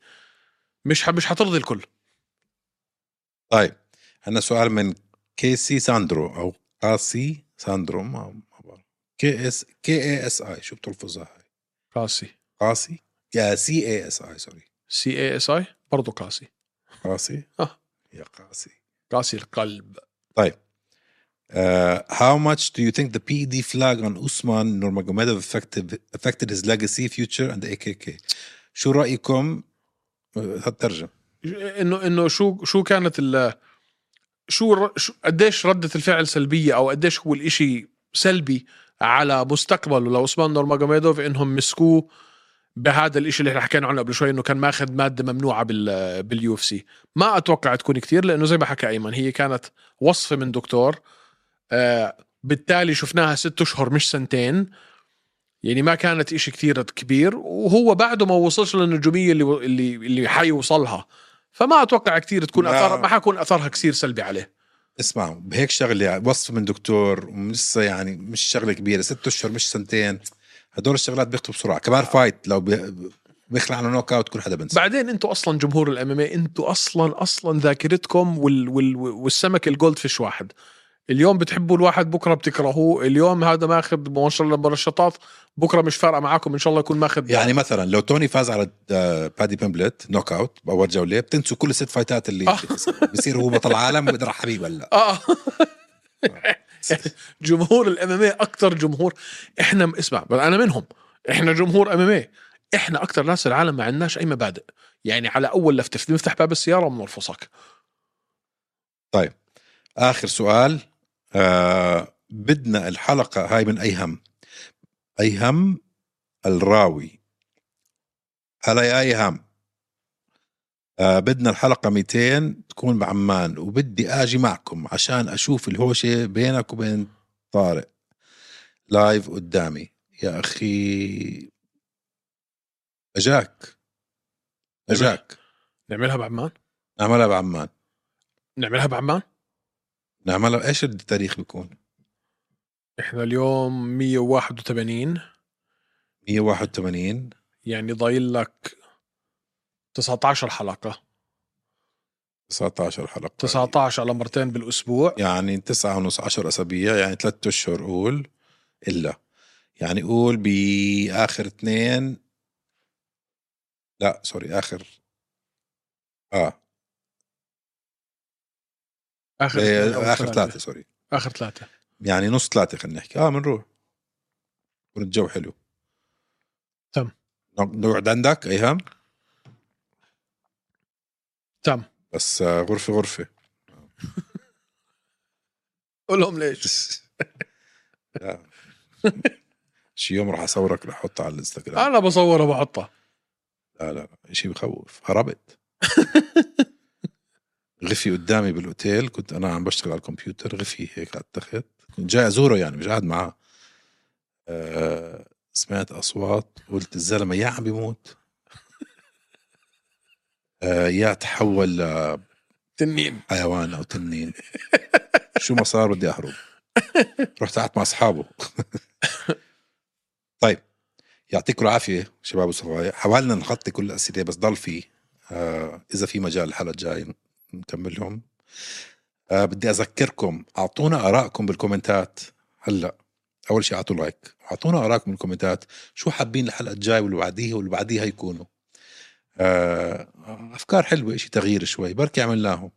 [SPEAKER 1] مش ح- مش حترضي الكل
[SPEAKER 2] طيب عندنا سؤال من كيسي ساندرو او قاسي ساندرو ما ما بعرف كي اس كي اي اس اي شو بتلفظها هاي
[SPEAKER 1] قاسي
[SPEAKER 2] قاسي يا سي اي اس اي سوري
[SPEAKER 1] سي اي اس اي برضه قاسي
[SPEAKER 2] قاسي
[SPEAKER 1] آه.
[SPEAKER 2] يا قاسي
[SPEAKER 1] قاسي القلب
[SPEAKER 2] طيب Uh, how much do you think the PED flag on Usman Nurmagomedov affected, affected his legacy, future and the AKK? شو رأيكم هترجم
[SPEAKER 1] انه انه شو شو كانت ال شو الر- شو- قديش رده الفعل سلبيه او قديش هو الإشي سلبي على مستقبله لعثمان نورماجوميدوف انهم مسكوه بهذا الإشي اللي احنا حكينا عنه قبل شوي انه كان ماخذ ماده ممنوعه بال باليو اف سي ما اتوقع تكون كتير لانه زي ما حكى ايمن هي كانت وصفه من دكتور آه بالتالي شفناها ست اشهر مش سنتين يعني ما كانت إشي كتير كبير وهو بعده ما وصلش للنجوميه اللي اللي اللي حيوصلها فما اتوقع كتير تكون
[SPEAKER 2] لا.
[SPEAKER 1] اثارها ما حكون اثارها كثير سلبي عليه
[SPEAKER 2] اسمعوا بهيك شغلة وصف من دكتور ولسه يعني مش شغلة كبيرة ست أشهر مش سنتين هدول الشغلات بيخطوا بسرعة كمان فايت لو بي- بيخلع عنه نوك اوت كل حدا بنسى
[SPEAKER 1] بعدين انتوا اصلا جمهور الام ام انتوا اصلا اصلا ذاكرتكم وال وال والسمك الجولد فيش واحد اليوم بتحبوا الواحد بكره بتكرهوه اليوم هذا ماخذ ما شاء الله منشطات بكره مش فارقه معاكم ان شاء الله يكون ماخذ
[SPEAKER 2] يعني مثلا لو توني فاز على آه، بادي بيمبلت نوك اوت باول جولة بتنسوا كل الست فايتات اللي بصير هو بطل عالم وبقدر على حبيب هلا
[SPEAKER 1] اه جمهور الام اكثر إيه، جمهور احنا اسمع انا منهم احنا جمهور ام احنا اكثر ناس العالم ما عندناش اي مبادئ يعني على اول لفته بنفتح باب السياره وبنرفصك
[SPEAKER 2] اخر سؤال آه بدنا الحلقه هاي من اي هم اي هم الراوي هلا يا اي هم آه بدنا الحلقه 200 تكون بعمان وبدي اجي معكم عشان اشوف الهوشه بينك وبين طارق لايف قدامي يا اخي اجاك اجاك
[SPEAKER 1] نعملها بعمان
[SPEAKER 2] نعملها بعمان
[SPEAKER 1] نعملها بعمان
[SPEAKER 2] نعملها ايش التاريخ بيكون
[SPEAKER 1] احنا اليوم 181
[SPEAKER 2] 181
[SPEAKER 1] يعني ضايل لك 19 حلقه
[SPEAKER 2] 19 حلقة
[SPEAKER 1] 19 على مرتين بالاسبوع
[SPEAKER 2] يعني تسعة ونص 10 أسابيع يعني ثلاثة أشهر قول إلا يعني قول بآخر اثنين لا سوري آخر آه
[SPEAKER 1] اخر اثنين أو
[SPEAKER 2] إيه، آخر ثلاثة سوري
[SPEAKER 1] اخر ثلاثه
[SPEAKER 2] يعني نص ثلاثة خلينا نحكي آه بنروح يكون الجو حلو
[SPEAKER 1] تم.
[SPEAKER 2] نقعد عندك أيهم
[SPEAKER 1] تم
[SPEAKER 2] بس آه، غرفة غرفة
[SPEAKER 1] قول لهم ليش
[SPEAKER 2] لا. شي يوم راح أصورك راح أحطها على الانستغرام
[SPEAKER 1] انا بصوره بحطها
[SPEAKER 2] لا لا شيء بخوف هربت غفي قدامي بالاوتيل كنت انا عم بشتغل على الكمبيوتر غفي هيك على التخت كنت جاي ازوره يعني مش قاعد معاه آه سمعت اصوات قلت الزلمه يا عم بيموت آه يا تحول
[SPEAKER 1] تنين
[SPEAKER 2] حيوان او تنين شو ما صار بدي اهرب رحت قعدت مع اصحابه طيب يعطيكم العافيه شباب وصبايا حاولنا نغطي كل الاسئله بس ضل في آه اذا في مجال الحلقه الجايه نكملهم آه بدي اذكركم اعطونا ارائكم بالكومنتات هلا اول شيء اعطوا لايك اعطونا ارائكم بالكومنتات شو حابين الحلقه الجايه واللي بعديها واللي بعديها يكونوا آه افكار حلوه شيء تغيير شوي بركي عملناهم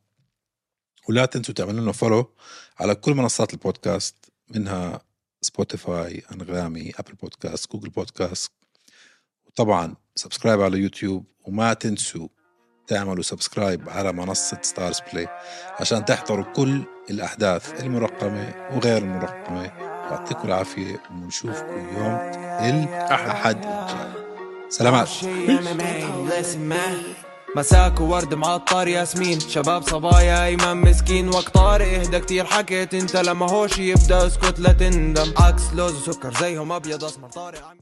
[SPEAKER 2] ولا تنسوا تعملوا لنا فولو على كل منصات البودكاست منها سبوتيفاي انغامي ابل بودكاست جوجل بودكاست وطبعا سبسكرايب على يوتيوب وما تنسوا تعملوا سبسكرايب على منصة ستارز بلاي عشان تحضروا كل الأحداث المرقمة وغير المرقمة يعطيكم العافية ونشوفكم يوم الأحد الجاي سلامات
[SPEAKER 4] مساك وورد معطر ياسمين شباب صبايا ايمن مسكين وقت طارق اهدى كتير حكيت انت لما هوش يبدا اسكت لا تندم عكس لوز وسكر زيهم ابيض اسمر طارق عم-